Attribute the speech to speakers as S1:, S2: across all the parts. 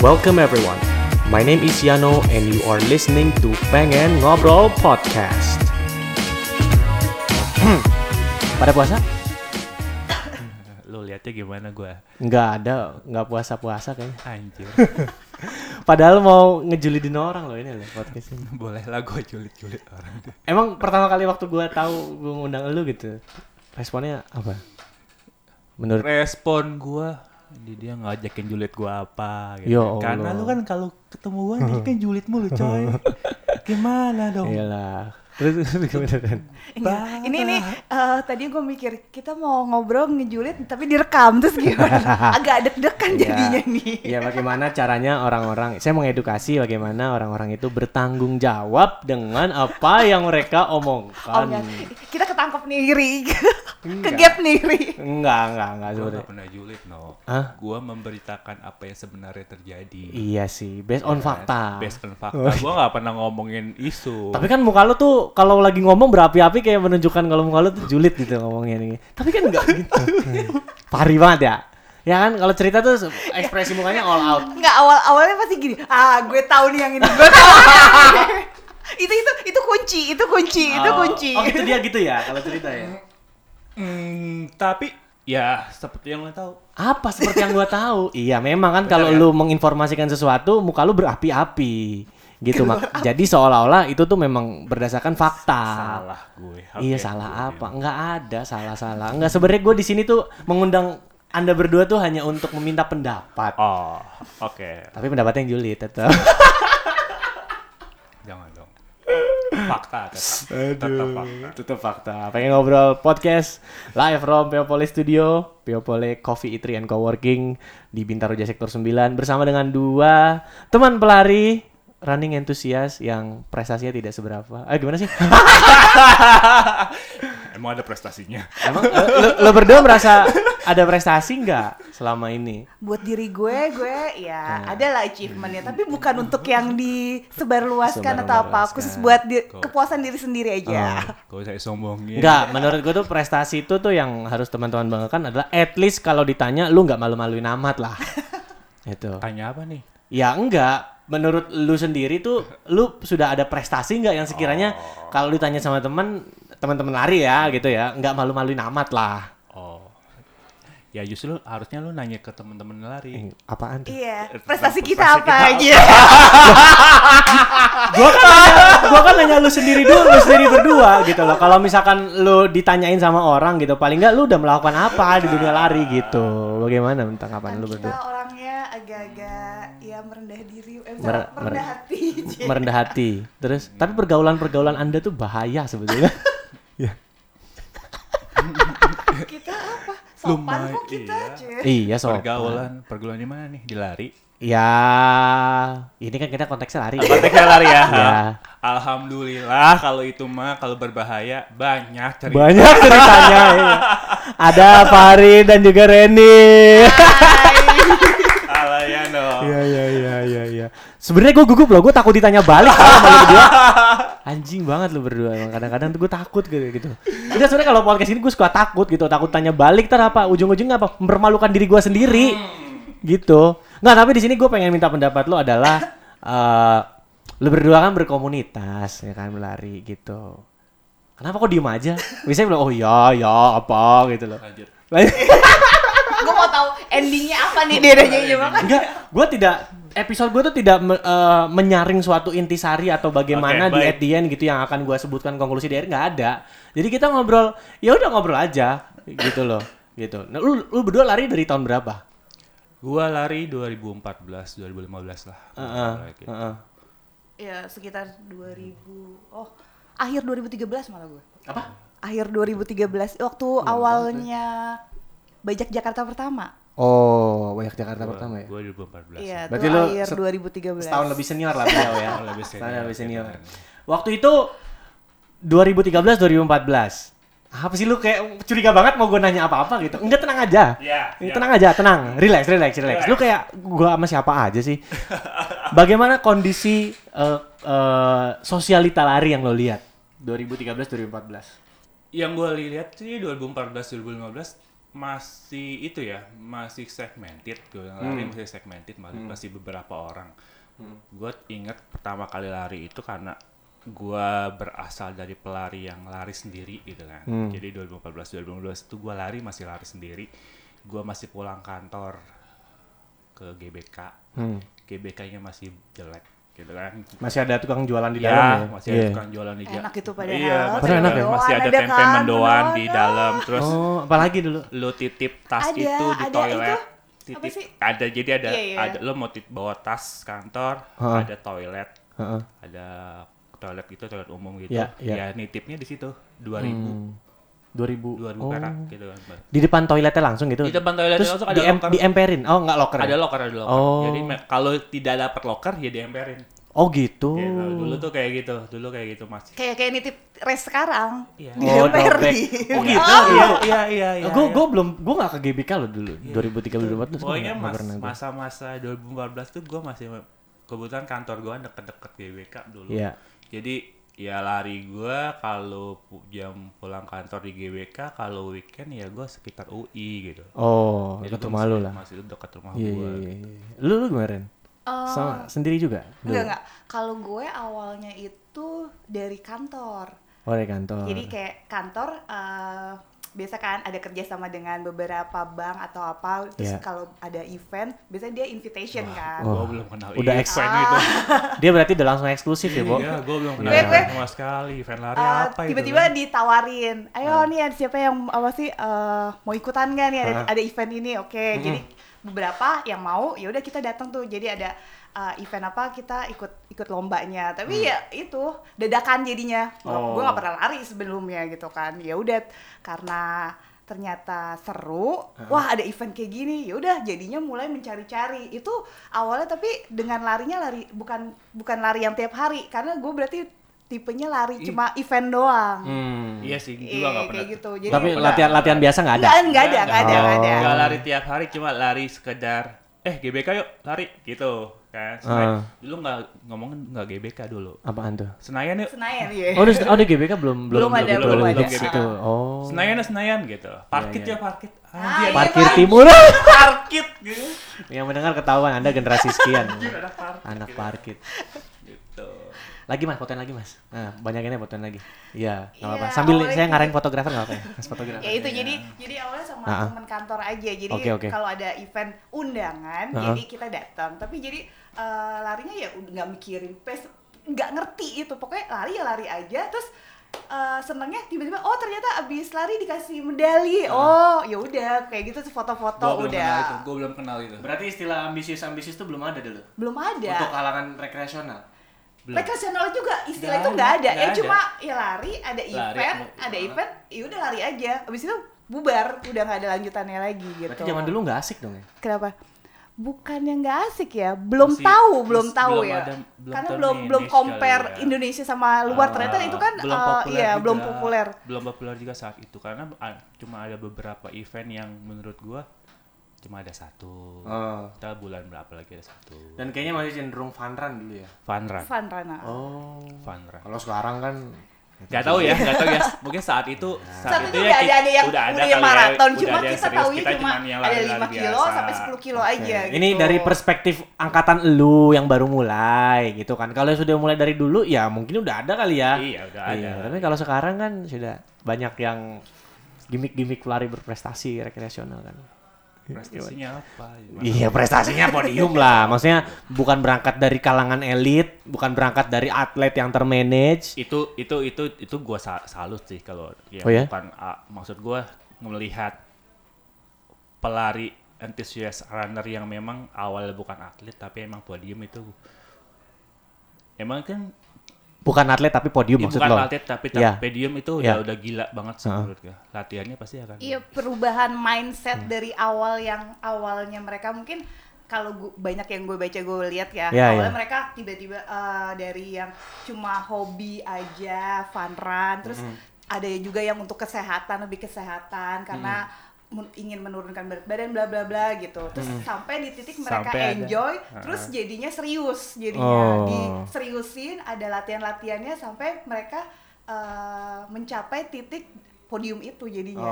S1: Welcome everyone. My name is Yano and you are listening to Pengen Ngobrol Podcast. Hmm. Pada puasa?
S2: Lu liatnya gimana gua?
S1: Nggak ada, nggak puasa-puasa kayaknya.
S2: Anjir.
S1: Padahal mau ngejulidin orang loh ini loh podcast ini.
S2: Boleh lah gua julid-julid orang.
S1: Emang pertama kali waktu gua tahu gua ngundang elu gitu, responnya apa? Menurut
S2: Respon gua di dia ngajakin julid gua apa gitu.
S1: Ya
S2: Karena
S1: Allah.
S2: lu kan kalau ketemu gua dia kan julid mulu coy. Gimana dong?
S1: Iya. Iyalah. Terus gimana Dan?
S2: Parah.
S3: Enggak. Ini ini eh, tadi gue mikir kita mau ngobrol ngejulit tapi direkam terus gimana? Agak deg-degan jadinya nih.
S1: Ya bagaimana caranya orang-orang Saya mengedukasi bagaimana orang-orang itu bertanggung jawab Dengan apa yang mereka
S3: Oh,
S1: omongkan
S3: enggak. Kita ketangkep nih Ri. Kegap nih Ri.
S1: Enggak, enggak, enggak
S2: Gua
S1: sebenarnya.
S2: gak pernah julid, no.
S1: Hah?
S2: Gua memberitakan apa yang sebenarnya terjadi.
S1: Iya sih, based on fakta
S2: Based on fakta. Gua gak pernah ngomongin isu.
S1: Tapi kan muka lu tuh kalau lagi ngomong berapi-api kayak menunjukkan kalau muka lu tuh julid gitu ngomongnya nih. Tapi kan enggak gitu. Pari banget ya. Ya kan kalau cerita tuh ekspresi mukanya all out.
S3: Enggak awal-awalnya pasti gini. Ah, gue tahu nih yang ini. Gue tahu. nih yang ini." itu itu itu kunci, itu kunci, itu
S1: Oh,
S3: kunci.
S1: Oh, gitu dia gitu ya kalau cerita ya.
S2: Hmm, tapi ya seperti yang lo tahu.
S1: Apa seperti yang gua tahu? iya, memang kan kalau lu menginformasikan sesuatu, muka lu berapi-api. Gitu, Mak. Jadi seolah-olah itu tuh memang berdasarkan fakta.
S2: Salah gue.
S1: Iya, salah apa? Enggak ada salah-salah. Enggak sebenarnya gue di sini tuh mengundang Anda berdua tuh hanya untuk meminta pendapat.
S2: Oh, oke.
S1: Tapi pendapatnya yang julid tetap.
S2: Jangan dong. Fakta tetap. Tetap fakta.
S1: Tetap fakta. Pengen ngobrol podcast live from Peopole Studio, Peopole Coffee Eatery and Coworking di Bintaro Jaya Sektor 9 bersama dengan dua teman pelari running enthusiast yang prestasinya tidak seberapa. Eh gimana sih?
S2: Emang ada prestasinya.
S1: Emang eh, lo, lo berdua merasa ada prestasi nggak selama ini?
S3: Buat diri gue, gue ya ada lah achievementnya, tapi bukan untuk yang disebarluaskan atau apa,
S1: Disebarluaskan.
S3: khusus buat di-
S2: Kok.
S3: kepuasan diri sendiri aja.
S2: Gak usah sombongin.
S1: Nggak, menurut gue tuh prestasi itu tuh yang harus teman-teman banggakan adalah at least kalau ditanya lu nggak malu-maluin amat lah. Itu.
S2: Tanya apa nih?
S1: Ya enggak. Menurut lu sendiri tuh, lu sudah ada prestasi nggak yang sekiranya kalau ditanya sama teman, teman-teman lari ya gitu ya, nggak malu-maluin amat lah.
S2: Oh. Ya justru harusnya lu nanya ke temen-temen
S1: Eh,
S2: lari.
S1: apaan tuh?
S3: Iya,
S2: Tentang
S3: prestasi
S2: prestasi
S3: kita
S2: kita
S3: apa aja?
S1: gua kan nanya, gua kan nanya lu sendiri dulu, lu sendiri berdua gitu loh. Kalau misalkan lu ditanyain sama orang gitu, paling nggak lu udah melakukan apa di dunia lari gitu. Bagaimana tanggapan
S3: Kan
S1: lu
S3: kita
S1: berdua?
S3: orangnya agak-agak ya merendah diri, eh,
S1: Mer-
S3: merendah
S1: mer-
S3: hati. Ci.
S1: Merendah hati. Terus, tapi pergaulan-pergaulan Anda tuh bahaya sebetulnya. Iya.
S3: kita apa? Sopan
S2: Lumai-
S3: kok kita,
S2: iya.
S3: Ci.
S1: iya, sob.
S2: Pergaulan, pergaulan di mana nih? Di lari.
S1: Ya, ini kan kita konteksnya lari. ya.
S2: Konteksnya lari ya.
S1: Ya.
S2: Alhamdulillah kalau itu mah kalau berbahaya banyak cerita.
S1: Banyak ceritanya. iya. Ada Fahri dan juga Reni.
S2: Alah, ya dong.
S1: Iya iya iya iya iya. Sebenarnya gue gugup loh, gue takut ditanya balik sama lu berdua. Anjing banget lu berdua. Emang kadang-kadang tuh gue takut gitu gitu. Kita sebenarnya kalau podcast ini gue suka takut gitu, takut tanya balik ntar apa ujung-ujungnya apa mempermalukan diri gue sendiri. Gitu. Nggak, tapi di sini gue pengen minta pendapat lo adalah eh lu berdua kan berkomunitas ya kan berlari gitu. Kenapa kok diem aja? Biasanya bilang, oh ya, ya, apa gitu loh.
S2: Lanjut.
S3: Gue mau tahu endingnya apa nih dia nanya aja makan.
S1: Enggak, gue tidak episode gue tuh tidak me- eh, menyaring suatu intisari atau bagaimana di
S2: Oke, baik.
S1: at the end gitu yang akan gue sebutkan konklusi di akhir nggak ada. Jadi kita ngobrol, ya udah ngobrol aja gitu loh, gitu. Nah, lu, lu berdua lari dari tahun berapa?
S2: Gua lari 2014, 2015 lah.
S1: Heeh,
S2: Gitu.
S1: heeh.
S3: Ya sekitar 2000. Oh, akhir 2013 malah gue.
S1: Apa? Iya,
S3: Akhir 2013 waktu awalnya Bajak Jakarta pertama.
S1: Oh, banyak Jakarta pertama ya.
S2: Gua 2014.
S3: Iya,
S1: Berarti
S3: tuh
S1: lo
S3: akhir
S1: set-
S3: 2013.
S1: Setahun lebih senior lah beliau ya.
S2: Setahun lebih senior.
S1: Setahun lebih senior. Waktu itu 2013 2014. Apa sih lu kayak curiga banget mau gue nanya apa-apa gitu. Enggak tenang aja.
S2: Iya,
S1: Eh,
S2: iya.
S1: Tenang aja, tenang. Relax, relax, relax. Lu kayak gua sama siapa aja sih? Bagaimana kondisi eh, eh, sosialita lari yang lo lihat 2013 2014?
S2: yang gue lihat sih 2014 2015 masih itu ya masih segmented gue lari masih segmented masih, masih beberapa orang gue ingat pertama kali lari itu karena gue berasal dari pelari yang lari sendiri gitu kan jadi 2014 2012 itu gue lari masih lari sendiri gue masih pulang kantor ke GBK GBK-nya masih jelek gitu kan
S1: Masih ada tukang jualan di
S2: Iya,
S1: dalam ya?
S2: masih ada
S1: Iya.
S2: tukang jualan di
S3: Enak
S2: ja-
S3: itu padahal.
S2: Iya, masih
S1: Padahal
S2: ada,
S1: enak ya?
S2: masih ada
S3: Ada kan,
S2: tempe mendoan di
S3: mendoan.
S2: dalam. Terus
S1: Oh, apalagi dulu.
S2: lu titip tas
S3: Ada,
S2: itu di
S3: ada
S2: toilet.
S3: itu. Apa
S2: Titip
S3: sih?
S2: ada jadi ada
S3: Iya, iya.
S2: ada lu mau titip bawa tas kantor,
S1: Ha.
S2: ada toilet,
S1: Heeh.
S2: ada toilet gitu, toilet umum gitu.
S1: Iya, iya.
S2: Ya nitipnya di situ 2000
S1: 2000.
S2: 2000
S1: Oh.
S2: perak gitu kan.
S1: Di depan toiletnya langsung gitu.
S2: Di depan toiletnya
S1: Terus
S2: langsung ada
S1: di, em-
S2: locker.
S1: di emperin. Oh, enggak locker. ya?
S2: Ada loker, ada loker.
S1: Oh.
S2: Jadi me- kalau tidak dapat loker ya diemperin.
S1: Oh, gitu.
S2: Gitu. Dulu tuh kayak gitu, dulu kayak gitu masih.
S3: Kayak kayak nitip res sekarang.
S2: Iya.
S3: Di
S1: Oh,
S3: DPR
S1: dobek.
S3: nih.
S1: Oh, gitu.
S2: Iya, iya, iya, iya.
S1: gue
S2: iya.
S1: gue belum gue nggak ke GBK lo dulu 2003 2004 tuh
S2: Pokoknya
S1: nggak
S2: mas,
S1: pernah gua.
S2: masa-masa 2014 tuh gue masih kebetulan kantor gue deket-deket GBK dulu.
S1: Iya.
S2: Jadi ya lari gue kalau pu- jam pulang kantor di GBK kalau weekend ya gue sekitar UI gitu.
S1: oh
S2: Jadi
S1: ikut
S2: gua
S1: rumah
S2: masih-
S1: lu lah
S2: Masih dekat rumah
S1: iya
S2: gue.
S1: iya iya lu lu kemarin sama sendiri juga Dulu?
S3: Eh, Enggak, enggak. Kalau gue awalnya itu dari kantor.
S1: oh dari kantor
S3: Jadi
S2: Nah.
S3: kayak kantor eh, biasa kan ada kerjasama dengan beberapa bank atau apa. Terus
S1: Iya.
S3: kalau ada event, biasanya dia invitation kan.
S1: wah.
S2: Gue belum kenal
S1: Udah
S2: Ivan
S1: expert.
S2: itu.
S1: dia berarti udah langsung eksklusif ya Bo
S2: Iya, gue belum kenal
S3: Gue-
S2: Ivan
S3: gue-
S2: sama sekali. Fan lari
S3: Eh,
S2: apa itu?
S3: tiba-tiba
S2: kan? Nah.
S3: ditawarin, ayo nih ada siapa yang apa sih eh, mau ikutan nggak nih ada,
S2: Nah.
S3: ada event ini, oke. Jadi beberapa yang mau, ya udah kita datang tuh. Jadi ada eh, event apa kita ikut ikut lombanya. Tapi ya itu dadakan jadinya.
S2: Mm. Oh.
S3: Gue nggak pernah lari sebelumnya gitu kan. Ya udah karena ternyata seru, wah ada event kayak gini, ya udah jadinya mulai mencari-cari itu awalnya tapi dengan larinya lari bukan bukan lari yang tiap hari karena gue berarti tipenya lari cuma event doang.
S1: Hmm.
S2: Iya sih, gue
S3: Iya,
S2: gak pernah.
S3: kayak gitu. Jadi
S1: tapi
S2: Nggak.
S1: latihan latihan biasa nggak ada Oh.
S3: Nggak, nggak ada, nggak ada, nggak ada.
S2: Nggak lari tiap hari, cuma lari sekedar, eh GBK yuk lari, gitu kan. Senayan.
S1: Ah.
S2: Dulu nggak ngomongin nggak GBK dulu.
S1: apaan tuh
S2: Senayan yuk.
S3: Senayan iya.
S1: oh di oh di GBK belum belum
S3: Belum ada,
S1: belum,
S3: belum
S1: belum
S3: ada.
S1: ke situ
S2: Iya.
S1: oh
S2: Senayan yuk, Senayan gitu. Parkit
S1: Iya,
S2: yuk parkit.
S3: Ah,
S2: Anjir,
S3: iya.
S1: parkir
S3: Pak.
S1: timur
S2: parkit. gitu.
S1: yang mendengar ketahuan anda generasi sekian
S2: Anjir, ada parkit.
S1: anak parkit
S2: Gitu.
S1: lagi mas fotoin lagi mas nah, banyakin ya fotoin lagi iya nggak apa-apa
S3: Iya,
S1: sambil
S3: awalnya
S1: saya
S3: gitu.
S1: ngareng fotografer nggak apa-apa ya mas fotografer
S3: Ya itu jadi jadi awalnya sama
S1: Ah, ah.
S3: teman kantor aja. Jadi
S1: Oke, oke.
S3: kalau ada event undangan,
S1: Ah, ah.
S3: jadi kita datang. Tapi jadi eh, larinya ya udah nggak mikirin pace, nggak ngerti itu. Pokoknya lari ya lari aja. Terus eh, senengnya tiba-tiba oh ternyata abis lari dikasih medali. Oh ya udah kayak gitu tuh
S2: Gue
S3: foto-foto
S2: belum kenal itu,
S3: udah.
S2: gue belum kenal itu.
S1: berarti istilah ambisius ambisius itu belum ada dulu
S3: Belum ada.
S1: kalangan rekreasional
S2: Belum.
S3: Rekreasional juga
S2: Nggak
S3: istilah itu
S2: ada,
S3: nggak ada, ya
S2: nggak ada.
S3: cuma ya lari ada
S2: Lari,
S3: event,
S2: mau-
S3: ada event, ya udah lari aja. Abis itu bubar, udah nggak ada lanjutannya lagi gitu.
S1: berarti zaman dulu nggak asik dong ya
S3: Kenapa? Bukan yang nggak asik ya, belum
S2: Masih-
S3: tahu,
S2: masih
S3: belum tahu
S2: belum
S3: ya.
S2: ada- belum
S3: Karena
S2: tahu
S3: belum belum
S2: manage
S3: compare
S2: kali ya. Ah,
S3: Indonesia sama luar ternyata itu kan
S2: belum
S3: eh,
S2: populer
S3: iya
S2: juga.
S3: belum populer.
S2: belum populer juga saat itu karena a- cuma ada beberapa event yang menurut gua cuma ada satu
S1: Oh.
S2: kita bulan berapa lagi ada satu
S1: dan kayaknya masih cenderung fun run dulu ya
S2: fun run
S3: Fun Rana.
S1: oh
S2: fun run
S1: kalau sekarang kan
S2: Gak tau ya, gak tau ya. Mungkin saat itu ya
S3: Saat itu udah ada, ada yang udah, yang
S2: kali ya,
S3: maraton,
S2: udah
S3: cuma
S2: ada yang
S3: kita
S2: serius,
S3: tahunya
S2: kita
S3: cuma
S2: cuman yang
S3: ada
S2: lari-lari
S3: 5 kilo
S2: biasa.
S3: sampai 10 kilo aja gitu.
S1: ini dari perspektif angkatan elu yang baru mulai gitu kan kalau sudah mulai dari dulu ya mungkin udah ada kali ya
S2: Iya, udah ada.
S1: tapi kalau sekarang kan sudah banyak yang gimmick-gimmick lari berprestasi rekreasional kan
S2: Prestasinya apa? ya? gimana?
S1: Iya prestasinya podium lah, maksudnya bukan berangkat dari kalangan elit, bukan berangkat dari atlet yang termanage.
S2: itu itu itu itu gua sa- salut sih kalau ya,
S1: Oh ya?
S2: bukan ah, maksud gua melihat pelari enthusiast runner yang memang awalnya bukan atlet tapi emang podium itu emang kan
S1: Bukan atlet tapi podium
S2: ya,
S1: maksud
S2: bukan
S1: lo.
S2: atlet tapi tapi
S1: Iya.
S2: podium itu
S1: Iya.
S2: udah udah gila banget sih
S1: Ha.
S2: menurut gua latihannya pasti akan
S3: Iya perubahan mindset dari awal yang awalnya mereka mungkin kalau gua- banyak yang gue baca gue lihat ya
S1: Iya, iya.
S3: awalnya mereka tiba-tiba eh, dari yang cuma hobi aja fun run terus ada juga yang untuk kesehatan lebih kesehatan karena men- ingin menurunkan berat badan bla bla bla gitu terus sampai di titik mereka
S2: Sampai ada.
S3: enjoy terus jadinya serius jadinya
S1: Oh.
S3: diseriusin ada latihan latihannya sampai mereka eh, mencapai titik podium itu
S1: Oh.
S3: jadinya.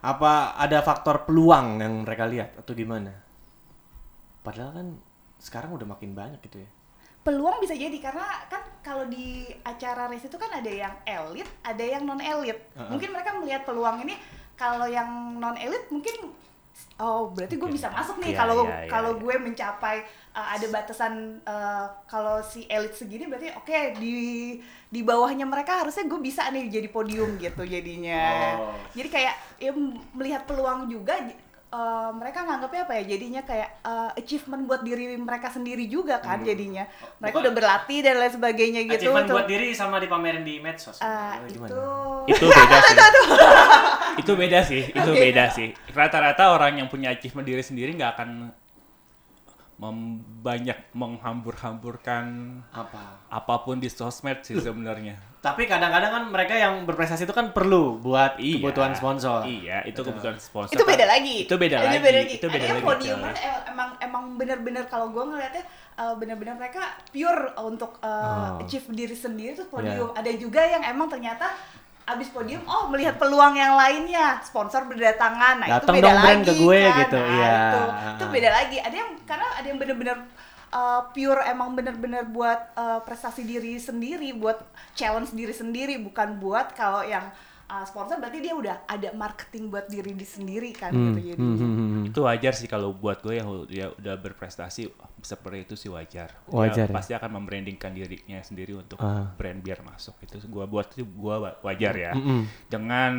S1: Apa ada faktor peluang yang mereka lihat atau gimana? Padahal kan sekarang udah makin banyak gitu ya.
S3: Peluang bisa jadi karena kan kalau di acara race itu kan ada yang elit, ada yang non elit.
S1: Heeh.
S3: Mungkin mereka melihat peluang ini kalau yang non elit mungkin oh berarti gue
S2: Mungkin.
S3: bisa masuk nih
S2: Iya,
S3: kalau
S2: iya, iya,
S3: kalau
S2: iya.
S3: gue mencapai uh, ada batasan uh, kalau si elit segini berarti oke di di bawahnya mereka harusnya gue bisa nih jadi podium gitu jadinya.
S1: Oh.
S3: Jadi kayak ya m- melihat peluang juga j- eh, mereka nganggapnya apa ya jadinya kayak eh, achievement buat diri mereka sendiri juga kan jadinya. Mereka udah berlatih dan lain sebagainya gitu.
S1: Hmm. Achievement
S3: tuh.
S1: buat diri sama dipamerin di medsos.
S3: Eh,
S1: Gimana?
S3: itu
S2: itu beda sih itu beda sih itu
S3: Oke.
S2: beda sih rata-rata orang yang punya achievement diri sendiri nggak akan mem- banyak menghambur-hamburkan
S1: Apa?
S2: apapun di sosmed sih sebenarnya
S1: Tapi kadang-kadang kan mereka yang berprestasi itu kan perlu buat
S2: Iya.
S1: kebutuhan sponsor.
S2: iya itu kebutuhan sponsor
S3: itu beda lagi.
S2: itu beda
S3: Ini
S2: lagi
S3: Beda lagi.
S2: itu beda
S3: Ada yang
S2: lagi
S3: podium
S2: coy.
S3: kan em- emang emang bener-bener kalau gue ngeliatnya eh, bener-bener mereka pure untuk eh,
S1: Oh.
S3: achieve diri sendiri terus podium. Ada juga yang emang ternyata abis podium oh melihat peluang yang lainnya sponsor berdatangan nah
S1: Datang
S3: itu beda
S1: dong
S3: lagi
S1: brand ke gue
S3: kan.
S1: gitu,
S3: Nah,
S1: iya.
S3: itu itu beda lagi ada yang karena ada yang bener-bener eh, pure emang bener-bener buat eh, prestasi diri sendiri buat challenge diri sendiri bukan buat kalau yang eh, sponsor berarti dia udah ada marketing buat diri di sendiri kan
S1: Hmm,
S3: gitu
S1: hmm,
S3: jadinya.
S1: hmm, hmm.
S2: itu wajar sih kalau buat gue yang u- ya udah berprestasi seperti itu sih wajar. Dia
S1: Wajar ya?
S2: pasti akan membrandingkan dirinya sendiri untuk
S1: Ah.
S2: brand biar masuk. Itu gue buat itu gue wajar ya.
S1: Mm-mm.
S2: Dengan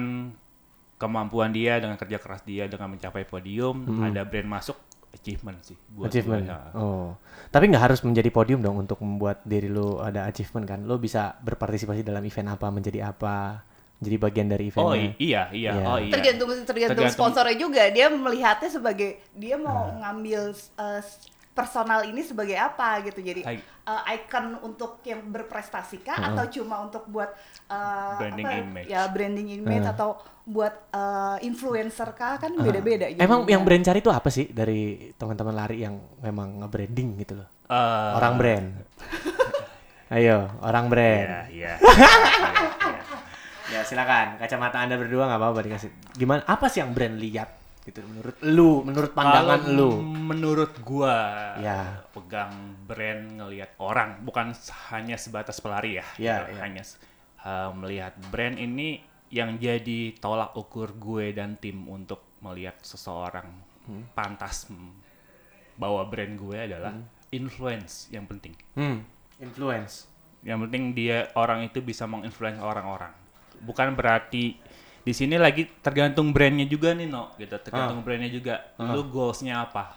S2: kemampuan dia, dengan kerja keras dia, dengan mencapai podium, ada brand masuk achievement sih. buat gue,
S1: achievement.
S2: ya.
S1: Oh. Tapi nggak harus menjadi podium dong untuk membuat diri lu ada achievement kan. Lu bisa berpartisipasi dalam event apa, menjadi apa, menjadi bagian dari eventnya.
S2: Oh i- iya iya
S1: Iya.
S2: oh iya.
S3: tergantung tergantung
S2: Tergantung- Hmm.
S3: sponsornya juga dia melihatnya sebagai dia mau ngambil eh, personal ini sebagai apa gitu jadi
S2: Ai-
S3: eh, icon untuk yang berprestasi kah atau cuma untuk buat eh,
S2: Hmm. Branding
S3: apa,
S2: image. Hmm.
S3: ya branding image atau buat eh, influencer kah kan
S2: Hmm.
S3: beda-beda
S1: Emang
S3: jadinya.
S1: yang brand cari itu apa sih dari teman-teman lari yang memang nge-branding gitu loh?
S2: Eh,
S1: orang brand. Ayo, orang brand.
S2: Iya iya.
S1: Ya silakan, kacamata Anda berdua nggak apa-apa dikasih. Gimana? Apa sih yang brand lihat gitu menurut lu, menurut pandangan
S2: Kalau
S1: lu?
S2: Menurut gua
S1: Ya.
S2: pegang brand ngelihat orang bukan s- hanya sebatas pelari ya.
S1: Ya,
S2: Gitu,
S1: ya.
S2: Hanya s- uh, melihat brand ini yang jadi tolak ukur gue dan tim untuk melihat seseorang
S1: Hmm.
S2: pantas m- bawa brand gue adalah influence yang penting.
S1: Hmm, influence.
S2: Yang penting dia orang itu bisa menginfluence orang-orang. Bukan berarti di sini lagi tergantung brandnya juga nih, no. Gitu,
S1: Ah.
S2: tergantung brandnya juga. Lu goalsnya apa?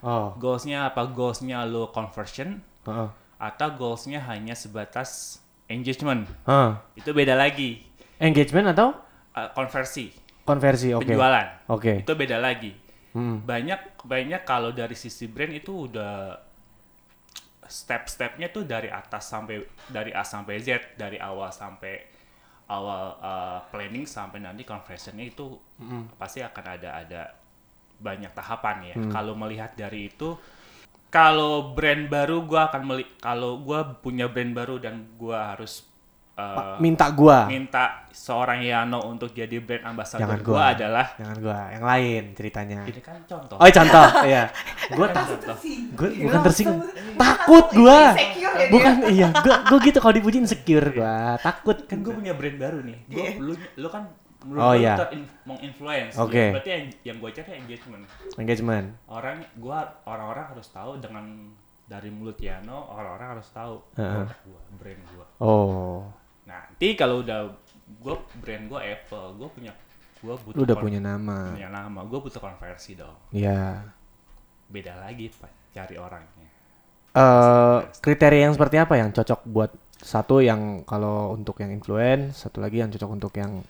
S1: Oh,
S2: Goalsnya apa? Goalsnya lu conversion
S1: heeh.
S2: atau goalsnya hanya sebatas engagement?
S1: Heeh.
S2: Itu beda lagi.
S1: Engagement atau
S2: Uh, konversi,
S1: konversi? Oke.
S2: penjualan.
S1: Oke.
S2: Itu beda lagi.
S1: Hmm.
S2: Banyak banyak kalau dari sisi brand itu udah step-stepnya tuh dari atas sampai dari A sampai Z, dari awal sampai awal uh, planning sampai nanti conversionnya itu
S1: Hmm.
S2: pasti akan ada ada banyak tahapan ya. Kalau melihat dari itu kalau brand baru gua akan meli kalau gua punya brand baru dan gua harus
S1: eh,
S2: uh,
S1: Minta gua.
S2: minta seorang Yano untuk jadi brand
S1: Jangan
S2: ambassador
S1: gua.
S2: gua adalah
S1: Jangan gua, yang lain ceritanya.
S2: ini kan contoh.
S1: Oh, contoh, iya. Gua
S2: Kan
S1: tak
S2: contoh.
S1: gue
S3: Gila,
S1: bukan tersinggung
S3: langsung-
S1: takut
S3: langsung
S1: gua
S3: kan insecure ya dia.
S1: bukan iya gua gua gitu kalau dipuji insecure Iya. gua takut
S2: kan gue punya brand baru nih gue
S3: Iya.
S2: lu, lu kan menurut
S1: Oh,
S2: gua lu
S1: iya.
S2: terin- menginfluence
S1: Oke.
S2: Ya, berarti yang, yang gue cari engagement
S1: engagement
S2: orang gua orang-orang harus tahu dengan dari mulut Yano orang-orang harus tahu
S1: Heeh.
S2: produk gua brand gua
S1: oh
S2: nanti kalau udah gue brand gua Apple gue punya gue butuh
S1: lu udah
S2: kon-
S1: punya nama
S2: punya nama gue butuh konversi dong
S1: ya
S2: beda lagi Pak, cari orangnya
S1: eh kriteria yang seperti apa yang cocok buat satu yang kalau untuk yang influence satu lagi yang cocok untuk yang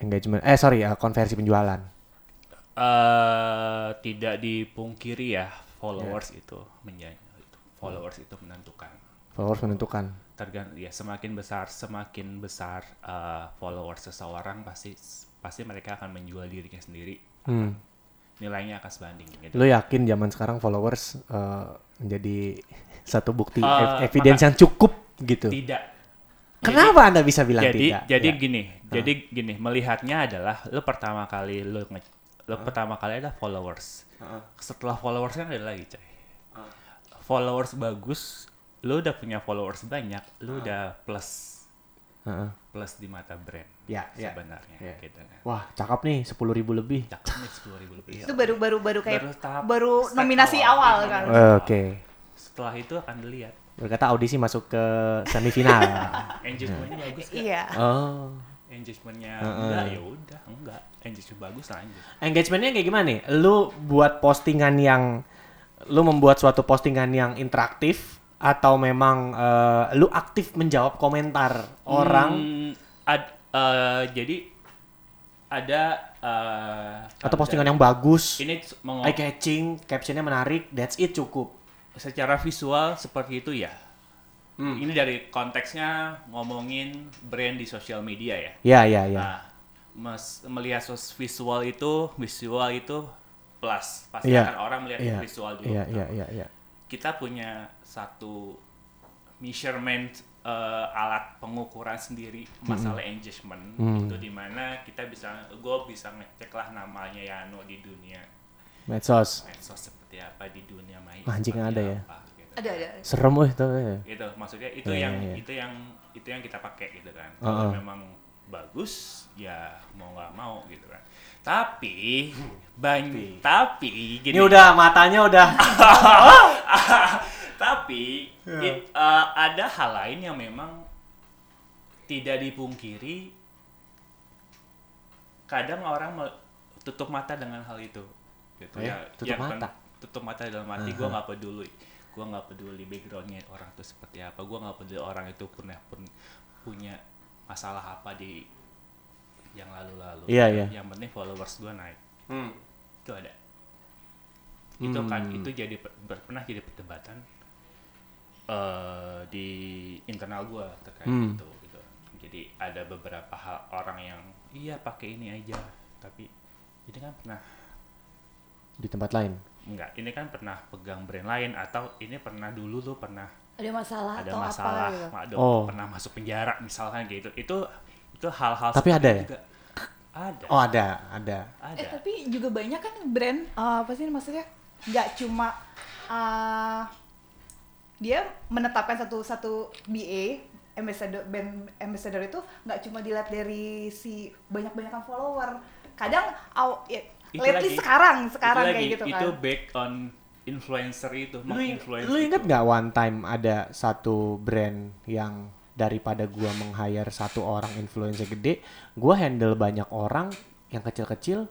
S1: engagement eh sorry ya konversi penjualan
S2: eh tidak dipungkiri ya followers itu menjadi followers itu menentukan
S1: followers menentukan
S2: tergantung ya semakin besar semakin besar eh, followers seseorang pasti pasti mereka akan menjual dirinya sendiri
S1: hmm.
S2: nilainya akan sebanding gitu.
S1: lu yakin zaman sekarang followers eh, menjadi satu bukti
S2: Eh,
S1: ev- evidence yang cukup gitu
S2: tidak
S1: Kenapa Anda bisa bilang
S2: jadi
S1: tidak?
S2: jadi
S1: Ya.
S2: gini jadi gini melihatnya adalah lo pertama kali lo nge lo
S1: Ah.
S2: pertama kali adalah followers setelah followers kan ada lagi coy
S1: Ah.
S2: followers bagus lo udah punya followers banyak
S1: Ah.
S2: lo udah plus
S1: Heeh.
S2: plus di mata brand
S1: Ya, ya.
S2: sebenarnya gitu kan
S1: Wah, cakep nih 10.000 ribu lebih.
S2: cakep nih sepuluh ribu lebih
S3: Itu baru baru baru kayak
S2: Baru tahap
S3: baru
S2: step
S3: nominasi
S2: awal. Iya.
S3: awal kan.
S1: Oke.
S2: setelah itu akan dilihat
S1: Berkata audisi masuk ke semifinal.
S2: engagementnya bagus gak?
S3: Iya.
S1: oh.
S2: engagementnya enggak ya udah enggak engagement bagus lanjut
S1: Engagementnya kayak gimana nih? Lu buat postingan yang lu membuat suatu postingan yang interaktif atau memang eh, lu aktif menjawab komentar orang
S2: Hmm, ad- eh, jadi ada eh,
S1: atau
S2: kalau
S1: postingan yang bagus,
S2: dari- ini s- mengo-
S1: eye catching, captionnya menarik, that's it cukup.
S2: secara visual seperti itu ya. Ini dari konteksnya ngomongin brand di sosial media ya.
S1: Ya ya ya.
S2: Nah, mes- melihat sos- visual itu, visual itu plus pasti
S1: Iya.
S2: akan orang melihat
S1: Iya.
S2: visual dulu.
S1: Iya iya iya. iya.
S2: Kita punya satu measurement eh, alat pengukuran sendiri
S1: Hmm.
S2: masalah engagement itu di mana kita bisa gue bisa ngecek lah namanya Yano di dunia
S1: Medsos.
S2: medsos seperti apa di dunia maya
S1: Anjing
S2: seperti
S1: ada ya?
S2: apa, gitu.
S3: Ada ada.
S1: Serem weh tuh. eh.
S2: gitu maksudnya itu
S1: Iya,
S2: yang
S1: iya, iya.
S2: itu yang itu yang kita pakai gitu kan
S1: Heeh.
S2: kalau memang bagus ya mau nggak mau gitu kan tapi banyak tapi gini
S1: Ini udah matanya udah.
S2: tapi
S1: Ya.
S2: it- eh, ada hal lain yang memang tidak dipungkiri kadang orang mel- tutup mata dengan hal itu gitu
S1: Eh, tutup
S2: bukan-
S1: mata?
S2: tutup mata dalam arti gua nggak peduli gua nggak peduli backgroundnya orang itu seperti apa gua nggak peduli orang itu punya pun punya masalah apa di yang lalu-lalu
S1: Iya, iya.
S2: yang penting followers gua naik itu ada Hmm, itu kan
S1: Hmm.
S2: itu jadi per- per- pernah jadi perdebatan eh, di internal gua terkait
S1: Hmm.
S2: itu gitu jadi ada beberapa hal orang yang iya pakai ini aja tapi ini kan pernah
S1: Di tempat lain.
S2: enggak ini kan pernah pegang brand lain atau ini pernah dulu lu pernah
S3: Ada masalah
S2: ada masalah
S3: gitu.
S2: ma- ada
S1: Oh.
S2: pernah masuk penjara misalkan gitu itu itu hal-hal
S1: Tapi
S2: seperti
S1: ada
S2: itu
S1: ya?
S2: juga. ada
S1: Oh ada ada.
S2: ada
S3: Eh tapi juga banyak kan brand eh, apa sih maksudnya nggak cuma eh, dia menetapkan satu satu BA ambassador brand ambassador itu nggak cuma dilihat dari si banyak banyakan follower kadang aw, ya,
S2: Itu lagi.
S3: lately sekarang sekarang
S2: itu
S3: kayak
S2: lagi,
S3: gitu
S2: itu
S3: kan
S2: back on influencer itu
S1: Lu,
S2: menginfluence
S1: lu
S2: itu.
S1: inget nggak one time ada satu brand yang daripada gua meng-hire satu orang influencer gede, gua handle banyak orang yang kecil-kecil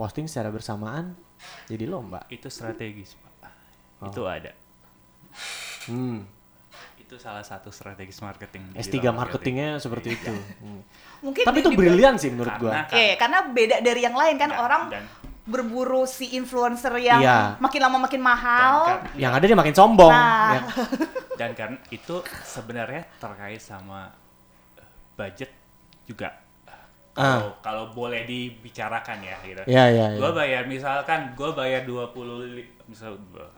S1: posting secara bersamaan jadi lomba.
S2: itu strategis pak
S1: Oh.
S2: itu ada
S1: Hmm.
S2: itu salah satu strategis marketing
S1: S3
S2: digital
S1: marketingnya seperti itu. Hmm.
S3: mungkin
S1: Tapi
S3: di-
S1: itu
S3: di-
S1: brilian kan? sih menurut
S2: Karena-
S1: gua.
S3: Oke, karena beda dari yang lain kan
S2: Dan-
S3: orang
S2: dan-
S3: berburu si influencer yang
S1: Iya.
S3: makin lama makin
S2: dan,
S3: mahal.
S2: kar-
S1: Yang ada dia makin sombong.
S3: Nah.
S1: Ya.
S2: dan karena itu sebenarnya terkait sama eh, budget juga kalau kalau boleh dibicarakan ya gitu
S1: Ah. Iya, iya, iya.
S2: gue bayar misalkan gue bayar 20 li- misal eh,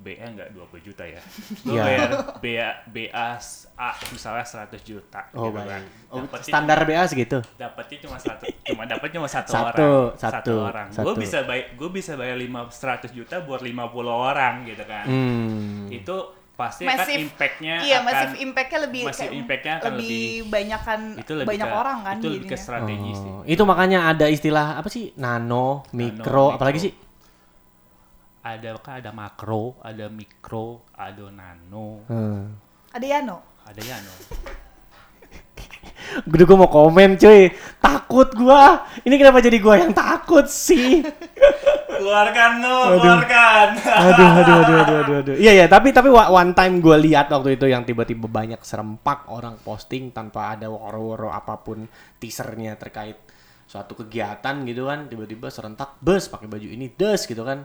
S2: BA nggak 20 juta ya gue
S1: Iya.
S2: bayar BA BA A misalnya 100 juta
S1: Oh,
S2: gitu
S1: baik.
S2: kan
S1: Oh,
S2: Dapetnya
S1: standar BA segitu.
S2: dapatnya cuma satu cuma dapat cuma satu,
S1: Satu,
S2: orang
S1: satu,
S2: orang
S1: satu.
S2: gue bisa bayar gue bisa bayar lima seratus juta buat 50 orang gitu kan
S1: Hmm.
S2: itu pasti
S3: Masif.
S2: kan impactnya
S3: Iya,
S2: akan
S3: masif impact-nya lebih
S2: masif
S3: kayak
S2: impact-nya akan
S3: lebih,
S2: lebih-
S3: banyakan
S2: itu lebih
S3: banyak
S2: ke-
S3: orang kan
S2: itu lebih ke
S3: jadinya.
S2: strategi sih
S1: Oh, itu makanya ada istilah apa sih? Nano, mikro,
S2: mikro.
S1: apalagi sih?
S2: ada kan ada makro ada mikro ada nano
S1: Hmm.
S3: Ada Yano.
S2: ada ya yano
S1: Udah gue mau komen cuy Takut gua Ini kenapa jadi gua yang takut sih
S2: keluarkan no keluarkan
S1: Aduh aduh aduh aduh aduh, aduh. Iya ya tapi tapi wa- one time gua lihat waktu itu yang tiba-tiba banyak serempak orang posting Tanpa ada woro-woro apapun teasernya terkait suatu kegiatan gitu kan Tiba-tiba serentak bus pakai baju ini des gitu kan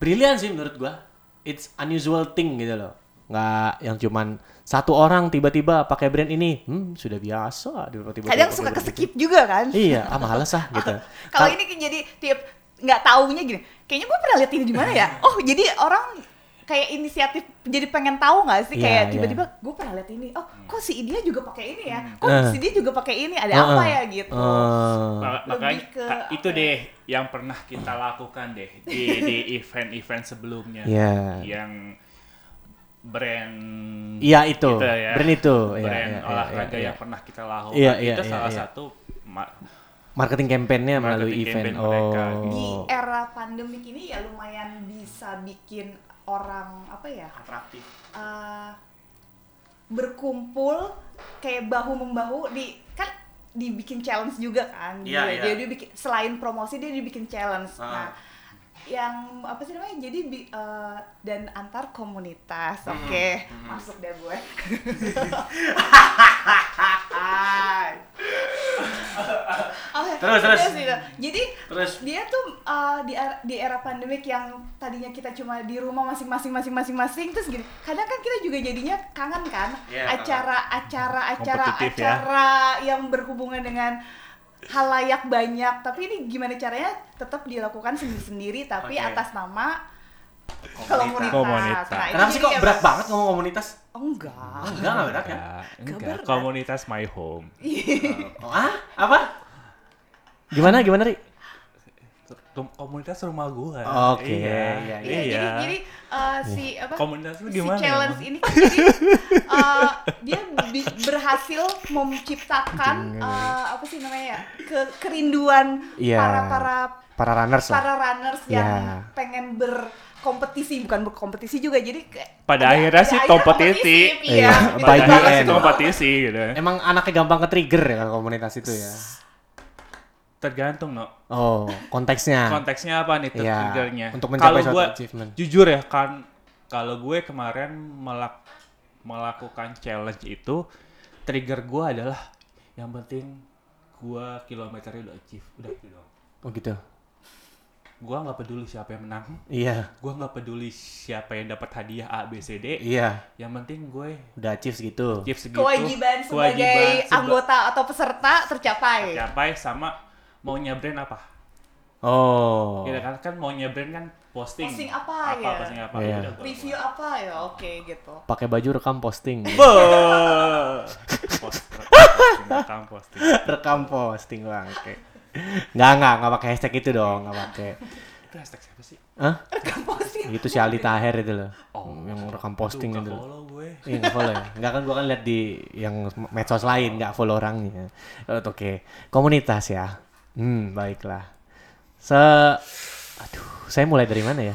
S1: Brilian sih menurut gua It's unusual thing gitu loh nggak yang cuman satu orang tiba-tiba pakai brand ini hmm sudah biasa tiba-tiba
S3: Kadang
S1: pakai
S3: suka
S1: brand itu.
S3: keskip juga kan.
S1: iya ah males ah gitu
S3: Kalau ini kan jadi tiap nggak taunya gini. Kayaknya gue pernah lihat ini di mana ya? Oh, jadi orang kayak inisiatif jadi pengen tahu nggak
S1: Iya,
S3: sih kayak
S1: iya.
S3: tiba-tiba gue pernah lihat ini oh kok si dia juga pakai ini ya kok
S1: Eh.
S3: si dia juga pakai ini ada
S1: Heeh.
S3: apa ya gitu
S1: Hmm. Heeh.
S2: Ma-
S3: Lebih
S2: makanya
S3: ke
S2: ka-
S3: apa
S2: itu
S3: ya?
S2: deh yang pernah kita lakukan deh di di event-event sebelumnya
S1: Iya.
S2: yang brand
S1: Iya, itu.
S2: gitu ya.
S1: Brand itu. Iya,
S2: brand
S1: iya, iya, iya,
S2: olahraga yang
S1: iya.
S2: pernah kita lakukan
S1: Iya, iya,
S2: itu
S1: iya,
S2: salah
S1: iya.
S2: satu ma-
S1: Marketing campaign-nya melalui
S2: Marketing
S1: event.
S2: campaign mereka.
S3: di
S1: Oh.
S3: era pandemik ini ya lumayan bisa bikin orang apa ya
S2: atraktif
S3: eh, berkumpul kayak bahu membahu di kan dibikin challenge juga kan
S2: Iya,
S3: dia,
S2: iya.
S3: dia dibikin- selain promosi dia dibikin challenge nah
S2: Ah.
S3: yang apa sih namanya jadi bi- eh, dan antar komunitas
S2: Hmm,
S3: oke masuk deh gue Oke,
S2: Terus, terus.
S3: gitu. jadi
S2: Terus.
S3: dia tuh uh, di era, di era pandemik yang tadinya kita cuma di rumah masing-masing masing-masing masing terus gini kadang kan kita juga jadinya kangen kan
S2: Iya,
S3: acara acara acara
S2: Kompetitif ya.
S3: acara yang berhubungan dengan halayak banyak tapi ini gimana caranya tetap dilakukan sendiri-sendiri
S2: Oke.
S3: tapi atas nama
S2: Komunitas.
S3: komunitas,
S2: Komunitas.
S3: Nah, itu
S1: Kenapa sih
S3: jadi
S1: kok
S3: ya,
S1: berat
S3: Mas.
S1: banget ngomong komunitas?
S3: Oh, enggak
S1: Enggak, enggak berat kan?
S2: enggak, ya, enggak.
S3: Keberat.
S2: komunitas my home
S3: Iya.
S1: Oh, ah? Apa? Gimana, gimana, Ri?
S2: Rum- komunitas rumah gua
S1: Oke, iya,
S2: iya,
S3: Iya, jadi jadi uh, si apa
S2: komunitas lu
S3: si
S2: gimana ya,
S3: challenge
S2: Bang?
S3: ini kan jadi uh, dia bi- berhasil menciptakan uh, apa sih namanya ya, ke kerinduan
S1: Iya.
S3: para para
S1: Para runners lah.
S3: para runners yang
S1: Iya.
S3: pengen berkompetisi bukan berkompetisi juga jadi kayak
S2: pada akhirnya sih kompetisi
S1: Iya,
S3: iya gitu
S1: by
S2: pada
S1: the
S2: akhirnya sih
S1: end.
S2: kompetisi gitu
S1: Emang anaknya gampang ke-trigger ya kalau komunitas itu ya?
S2: tergantung no
S1: Oh, konteksnya.
S2: konteksnya apa nih
S1: Iya,
S2: triggernya
S1: untuk mencapai
S2: Kalau
S1: suatu
S2: gua,
S1: achievement.
S2: jujur ya kan kalau gue kemarin melak melakukan challenge itu trigger gue adalah yang penting gue kilometernya udah achieve udah itu dong
S1: Oh gitu.
S2: gue nggak peduli siapa yang menang
S1: Iya,
S2: gue nggak peduli siapa yang dapat hadiah A B C D
S1: iya.
S2: yang penting gue
S1: Udah achieve segitu.
S2: achieve segitu
S3: kewajiban sebagai
S2: kewajiban seba-
S3: anggota atau peserta tercapai
S2: capai sama maunya brand apa
S1: Oh.
S2: Iya kan kan maunya brand kan posting.
S3: Posting apa,
S2: apa
S3: ya?
S2: Posting apa?
S1: Iya.
S2: Udah, gua-
S3: review apa ya oke gitu
S1: Pakai baju rekam posting.
S2: Beuh. Post- posting, rekam posting.
S1: rekam posting bang. Oke. Nggak, nggak, nggak pakai hashtag itu dong, nggak pakai.
S2: Itu hashtag siapa sih?
S1: Hah?
S3: rekam posting
S1: Itu si Ali Taher itu loh.
S2: Oh.
S1: Yang rekam posting
S2: Aduh,
S1: itu.
S2: nggak
S1: loh.
S2: follow gue.
S1: Iya nggak follow ya? Nggak kan gua kan lihat di yang medsos lain nggak follow orangnya. Oh, Oke, komunitas ya. Hmm baiklah. Se, aduh, saya mulai dari mana ya?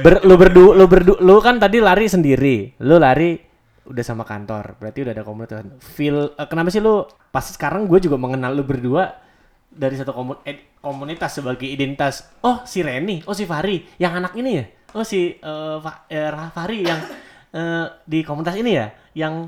S1: Ber, lu berdu, lu berdu, lu kan tadi lari sendiri. Lu lari udah sama kantor, berarti udah ada komunitas. Feel, eh, kenapa sih lu pas sekarang gue juga mengenal lu berdua dari satu komu- eh, komunitas sebagai identitas. Oh si Reni, oh si Fahri, yang anak ini ya. Oh si eh, Fa- eh, Ra- Fahri yang eh, di komunitas ini ya, yang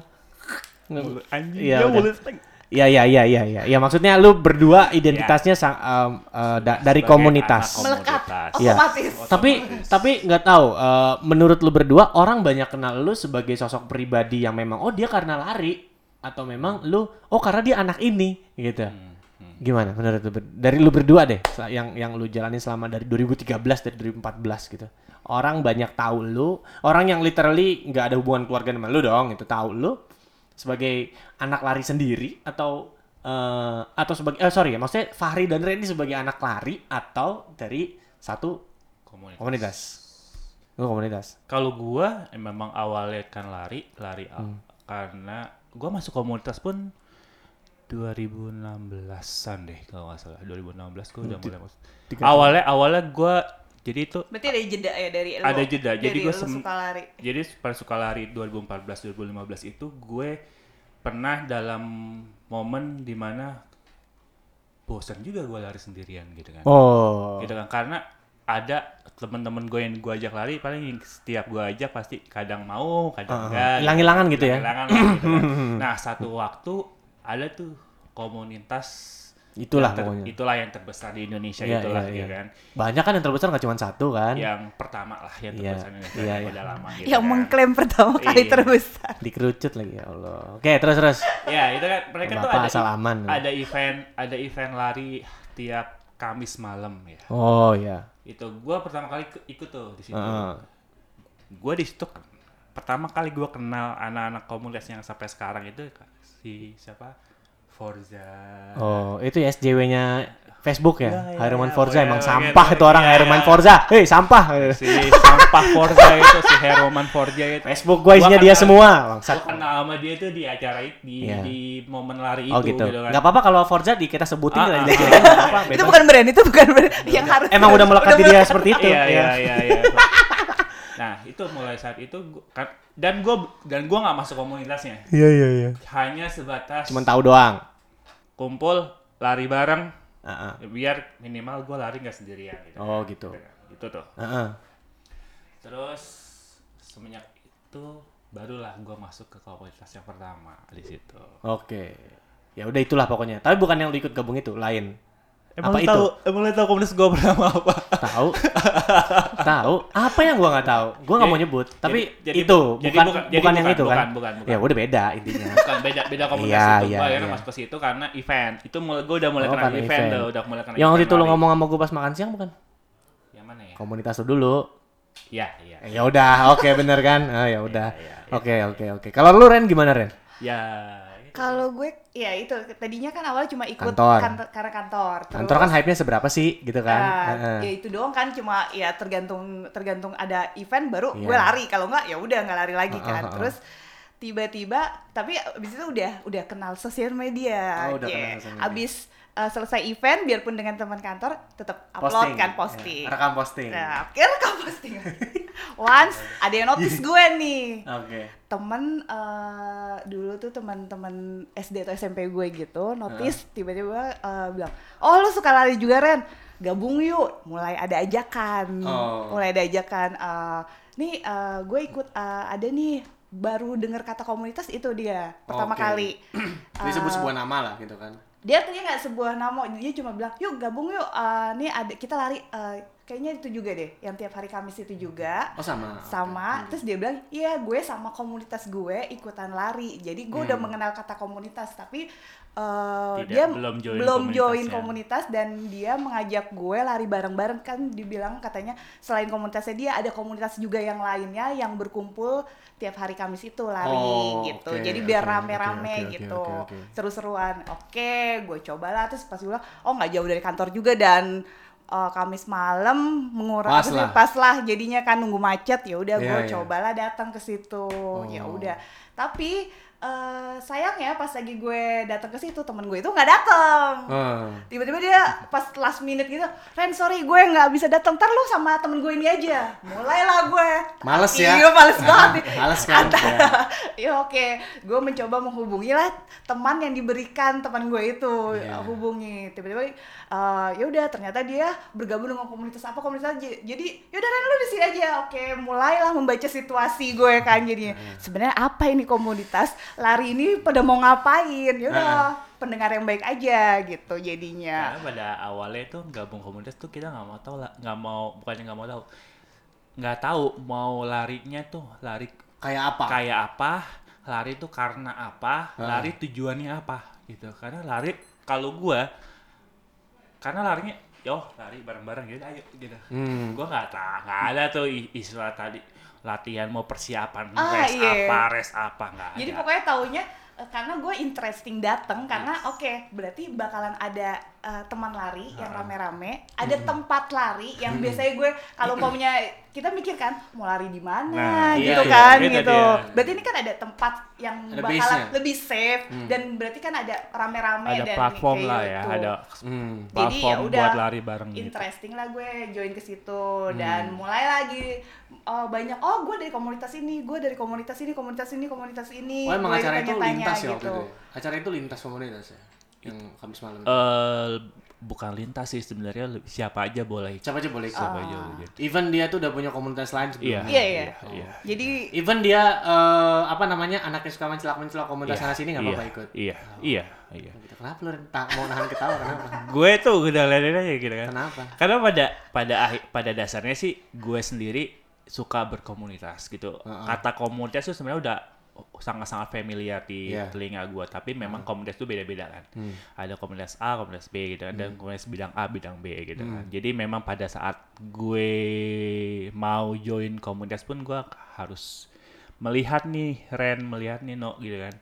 S2: Anjing,
S1: Iya,
S2: dia
S1: udah.
S2: mulai tag.
S1: Iya iya iya iya iya. Ya maksudnya lu berdua identitasnya sang- em, eh, da- dari
S2: Sebagai
S1: komunitas.
S2: anak
S3: melekat
S2: Komunitas.
S1: Iya.
S3: otomatis
S1: Tapi tapi nggak tahu eh, menurut lu berdua orang banyak kenal lu sebagai sosok pribadi yang memang oh dia karena lari atau memang lu oh karena dia anak ini gitu. Gimana menurut lu ber- dari lu berdua deh sel- yang yang lu jalani selama dari 2013 dari 2014 gitu. Orang banyak tahu lu, orang yang literally nggak ada hubungan keluarga sama lu dong itu tahu lu sebagai anak lari sendiri atau eh, atau sebagai eh, sorry ya maksudnya Fahri dan Randy sebagai anak lari atau dari satu
S2: Komunitas.
S1: komunitas lu komunitas
S2: Kalau gue memang awalnya kan lari, lari a-
S1: Hmm.
S2: karena gue masuk komunitas pun 2016-an deh kalau nggak salah. 2016 gue udah mulai masuk.
S1: Hmm, tiga tahun.
S2: Awalnya awalnya gue jadi itu
S3: berarti ada jeda ya dari lu-
S2: Ada jeda, jadi
S3: dari
S2: gua
S3: lu
S2: sem-
S3: suka lari
S2: Jadi pada suka lari 2014-2015 itu gue pernah dalam momen dimana bosan juga gue lari sendirian gitu kan.
S1: oh
S2: Gitu kan karena ada teman-teman gue yang gue ajak lari paling yang setiap gue ajak pasti kadang mau
S1: Ah,
S2: kadang enggak. gitu.
S1: hilang-hilangan gitu ya
S2: Hilang-hilangan lah gitu kan. Nah satu waktu ada tuh komunitas
S1: itulah
S2: yang ter-
S1: pokoknya
S2: itulah yang terbesar di Indonesia
S1: Iya,
S2: itulah
S1: iya,
S2: ya
S1: iya.
S2: kan Iya.
S1: banyak kan yang terbesar nggak cuma satu kan
S2: yang pertama lah yang
S1: Iya,
S2: terbesar di Indonesia
S1: iya,
S2: yang
S1: iya.
S2: udah lama gitu
S3: yang
S2: kan.
S3: mengklaim pertama kali
S2: Iya.
S3: terbesar
S1: dikerucut lagi ya Allah oke terus terus
S2: ya itu kan mereka tuh
S1: Bapak
S2: ada
S1: asal aman. ya.
S2: ada event ada event lari tiap Kamis malam ya
S1: oh ya
S2: itu gua pertama kali ke- ikut tuh di situ
S1: Heeh.
S2: gue di situ pertama kali gue kenal anak-anak komunitas yang sampai sekarang itu si siapa Forza
S1: Oh, itu ya SJW-nya Facebook ya?
S2: Ya, ya,
S1: Herman
S2: ya,
S1: Forza
S2: ya,
S1: emang
S2: ya,
S1: sampah
S2: ya,
S1: itu orang
S2: ya,
S1: Herman
S2: ya.
S1: Forza. Hei, sampah.
S2: si sampah Forza itu si Heroman Forza itu
S1: Facebook gua isinya
S2: Gua
S1: dia
S2: kenal-
S1: semua. Bangsat.
S2: Gua kan kenal sama dia tuh di acara itu di,
S1: Iya.
S2: di momen lari
S1: Oh
S2: itu
S1: gitu.
S2: kan.
S1: Gak apa-apa kalau Forza di kita sebutin
S2: Ah,
S1: lah.
S2: ah,
S1: di-
S2: ah, ah, apa,
S3: itu
S2: bebas.
S3: bukan brand itu bukan brand yang harus
S1: Emang udah melekat di dia seperti itu.
S2: Iya iya
S1: ya.
S2: iya. iya. nah itu mulai saat itu gua, kan- dan gue dan gua nggak masuk komunitasnya
S1: Iya iya iya.
S2: hanya sebatas
S1: Cuman tahu doang.
S2: kumpul lari bareng
S1: Heeh.
S2: biar minimal gue lari nggak sendirian. Gitu.
S1: Oh, gitu. ah.
S2: Gitu tuh.
S1: Heeh.
S2: Terus semenjak itu barulah gue masuk ke komunitas yang pertama di situ.
S1: Oke. Ya udah itulah pokoknya. Tapi bukan yang lu ikut gabung itu, lain.
S2: Emang
S1: apa
S2: lu
S1: itu?
S2: tahu, emang lu tahu komunitas gue pertama apa?
S1: Tahu? tahu? Apa yang gua nggak tahu? Gua nggak
S2: Jadi-
S1: mau nyebut. Tapi
S2: jadi- jadi
S1: itu
S2: bu- jadi
S1: bukan
S2: bukan-
S1: bukan,
S2: jadi
S1: yang
S2: bukan,
S1: itu kan.
S2: bukan, bukan, bukan.
S1: Ya udah beda intinya.
S2: Bukan beda beda komunitas
S1: Iya,
S2: itu.
S1: iya,
S2: Gue akhirnya
S1: iya.
S2: masuk ke situ karena event. Itu mulai gue udah mulai
S1: Oh,
S2: kenal
S1: karena
S2: event,
S1: event.
S2: tuh, udah mulai kenal
S1: yang waktu
S2: event
S1: itu lu
S2: lari.
S1: ngomong sama gua pas makan siang bukan?
S2: Yang mana ya?
S1: Komunitas lu dulu.
S2: Iya, iya.
S1: Eh, Ya udah, oke bener kan? Ah, ya udah.
S2: Iya, iya, iya.
S1: Oke, oke, oke. Kalau lu Ren gimana Ren?
S2: Ya.
S3: kalau gue ya itu tadinya kan awalnya cuma ikut
S1: Kantor.
S3: kantor- karena kantor terus
S1: Kantor kan hype-nya seberapa sih gitu kan?
S3: Ah,
S1: Heeh.
S3: ya itu doang kan cuma ya tergantung tergantung ada event baru
S1: Iya.
S3: gue lari kalau nggak ya udah nggak lari lagi
S1: Ah,
S3: kan
S1: ah, ah.
S3: terus tiba-tiba tapi abis itu udah udah kenal sosial media,
S1: Oh, udah
S3: Yeah.
S1: kenal sosial media.
S3: abis eh, selesai event biarpun dengan teman kantor tetap upload kan posting
S1: Ya, rekam posting.
S3: nah akhirnya rekam posting once ada yang notice
S1: Iya.
S3: gue nih
S1: Oke.
S3: temen eh, dulu tuh teman-teman SD atau SMP gue gitu notice
S1: Ah.
S3: tiba-tiba eh, bilang oh lu suka lari juga Ren gabung yuk mulai ada ajakan
S1: Oh.
S3: mulai ada ajakan eh, nih eh, gue ikut eh, ada nih baru dengar kata komunitas itu dia pertama
S1: Oke.
S3: kali Ah.
S1: Disebut sebuah nama lah gitu kan.
S3: dia tadi nggak sebuah nama dia cuma bilang yuk gabung yuk eh, nih ada kita lari eh, kayaknya itu juga deh yang tiap hari Kamis itu juga
S1: Oh sama.
S3: sama terus dia bilang iya gue sama komunitas gue ikutan lari jadi gue
S1: Hmm.
S3: udah mengenal kata komunitas tapi eh,
S2: Tidak,
S3: dia
S2: belum join
S3: belum join
S1: ya.
S2: komunitasnya.
S3: komunitas dan dia mengajak gue lari bareng-bareng kan dibilang katanya selain komunitasnya dia ada komunitas juga yang lainnya yang berkumpul tiap hari Kamis itu lari
S1: Oh,
S3: gitu
S1: oke,
S3: jadi biar
S1: oke,
S3: rame-rame
S1: oke, oke,
S3: gitu
S1: oke, oke.
S3: seru-seruan oke gue cobalah terus pas gue bilang oh nggak jauh dari kantor juga dan eh, Kamis malam mengurangi
S1: Pas lah.
S3: pas lah jadinya kan nunggu macet ya udah
S1: Iya, Oh.
S3: gue
S1: iya.
S3: cobalah datang ke situ ya udah tapi eh, sayangnya pas lagi gue datang ke situ temen gue itu nggak datang
S1: Hmm.
S3: tiba-tiba dia pas last minute gitu Ren sorry gue nggak bisa datang ntar lu sama temen gue ini aja mulailah gue
S1: Males ya?
S3: iya males banget nih.
S1: Males kan,
S3: Antara- ya oke gue mencoba menghubungi lah teman yang diberikan teman gue itu
S1: Iya.
S3: hubungi tiba-tiba eh, ya udah ternyata dia bergabung dengan komunitas apa komunitas aja jadi yaudah Ren lu di sini aja oke mulailah membaca situasi gue kan jadinya
S1: Iya.
S3: sebenarnya apa ini komunitas lari ini pada mau ngapain ya udah pendengar yang baik aja gitu jadinya
S2: Karena pada awalnya itu gabung komunitas tuh kita nggak mau tahu lah, nggak mau bukannya nggak mau tahu, nggak tahu mau larinya tuh lari
S1: Kayak apa? Ah.
S2: kayak apa, lari tuh karena apa, lari tujuannya apa gitu. Karena lari kalau gua karena larinya yo lari bareng-bareng gitu ayo gitu.
S1: Hmm.
S3: Iya,
S2: Gua nggak tahu, nggak ada tuh i- istilah tadi latihan mau persiapan
S3: Ah,
S2: res
S3: iya.
S2: apa, res apa nggak
S3: Jadi
S2: ada.
S3: pokoknya taunya eh, karena gue interesting dateng karena oke berarti bakalan ada eh, teman lari yang rame-rame, ada tempat lari yang biasanya gue kalau umpamanya kita mikir kan mau lari di mana
S2: Nah,
S3: gitu
S2: iya,
S3: kan
S2: iya, itu
S3: gitu.
S2: dia.
S3: Berarti ini kan ada tempat yang
S1: Ada
S3: bakalan
S1: base-nya.
S3: lebih safe dan berarti kan ada rame-rame
S2: Mm. ada
S3: dan
S2: platform
S3: kayak
S2: lah ya,
S3: gitu.
S2: ada
S1: Hmm.
S3: Jadi ya
S2: platform
S3: udah,
S2: buat lari bareng gitu.
S3: interesting lah gue join ke situ dan mulai lagi uh, banyak oh gue dari komunitas ini gue dari komunitas ini komunitas ini komunitas ini
S1: Oh emang
S3: Gue
S1: acara itu
S3: ditanya-tanya gitu.
S1: lintas ya waktu itu. ya? Acara itu lintas komunitas ya. Yang Kamis malam. itu.
S2: eh bukan lintas sih sebenarnya le- siapa aja boleh
S1: Siapa aja boleh ikut.
S2: siapa aja boleh jadi.
S1: Even dia tuh udah punya komunitas lain
S2: Ah. iya
S1: sebelumnya.
S3: Iya, iya.
S2: iya
S3: jadi
S1: Even dia eh, apa namanya anaknya suka mencelak-mencelak komunitas
S2: Iya,
S1: sana sini nggak apa-apa
S2: iya,
S1: ikut.
S2: iya iya iya
S1: Gitu. Kenapa lu tak mau nahan ketawa kenapa?
S2: gue tuh udah lain aja gitu kan
S1: Kenapa?
S2: karena pada pada akhir- pada dasarnya sih gue sendiri suka berkomunitas gitu kata komunitas tuh sebenarnya udah sangat-sangat familiar di
S4: Iya. Hmm.
S2: telinga gua tapi memang komunitas itu beda-beda kan ada komunitas A komunitas B gitu kan dan komunitas bidang A bidang B gitu kan
S4: Hmm.
S2: jadi memang pada saat gue mau join komunitas pun gua harus melihat nih Ren melihat nih No gitu kan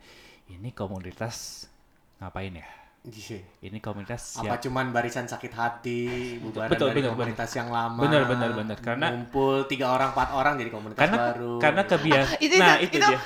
S2: ini komunitas ngapain ya
S4: Iya.
S2: ini komunitas
S4: Apa
S2: siapa
S4: cuman barisan sakit hati, bubaran
S2: betul,
S4: dari
S2: betul,
S4: komunitas yang lama.
S2: Benar, benar, benar. Karena-
S4: ngumpul tiga orang, empat orang jadi komunitas
S2: karena
S4: baru.
S2: karena kebiasaan
S3: Itu-
S2: nah itu,
S3: itu- itu-
S2: dia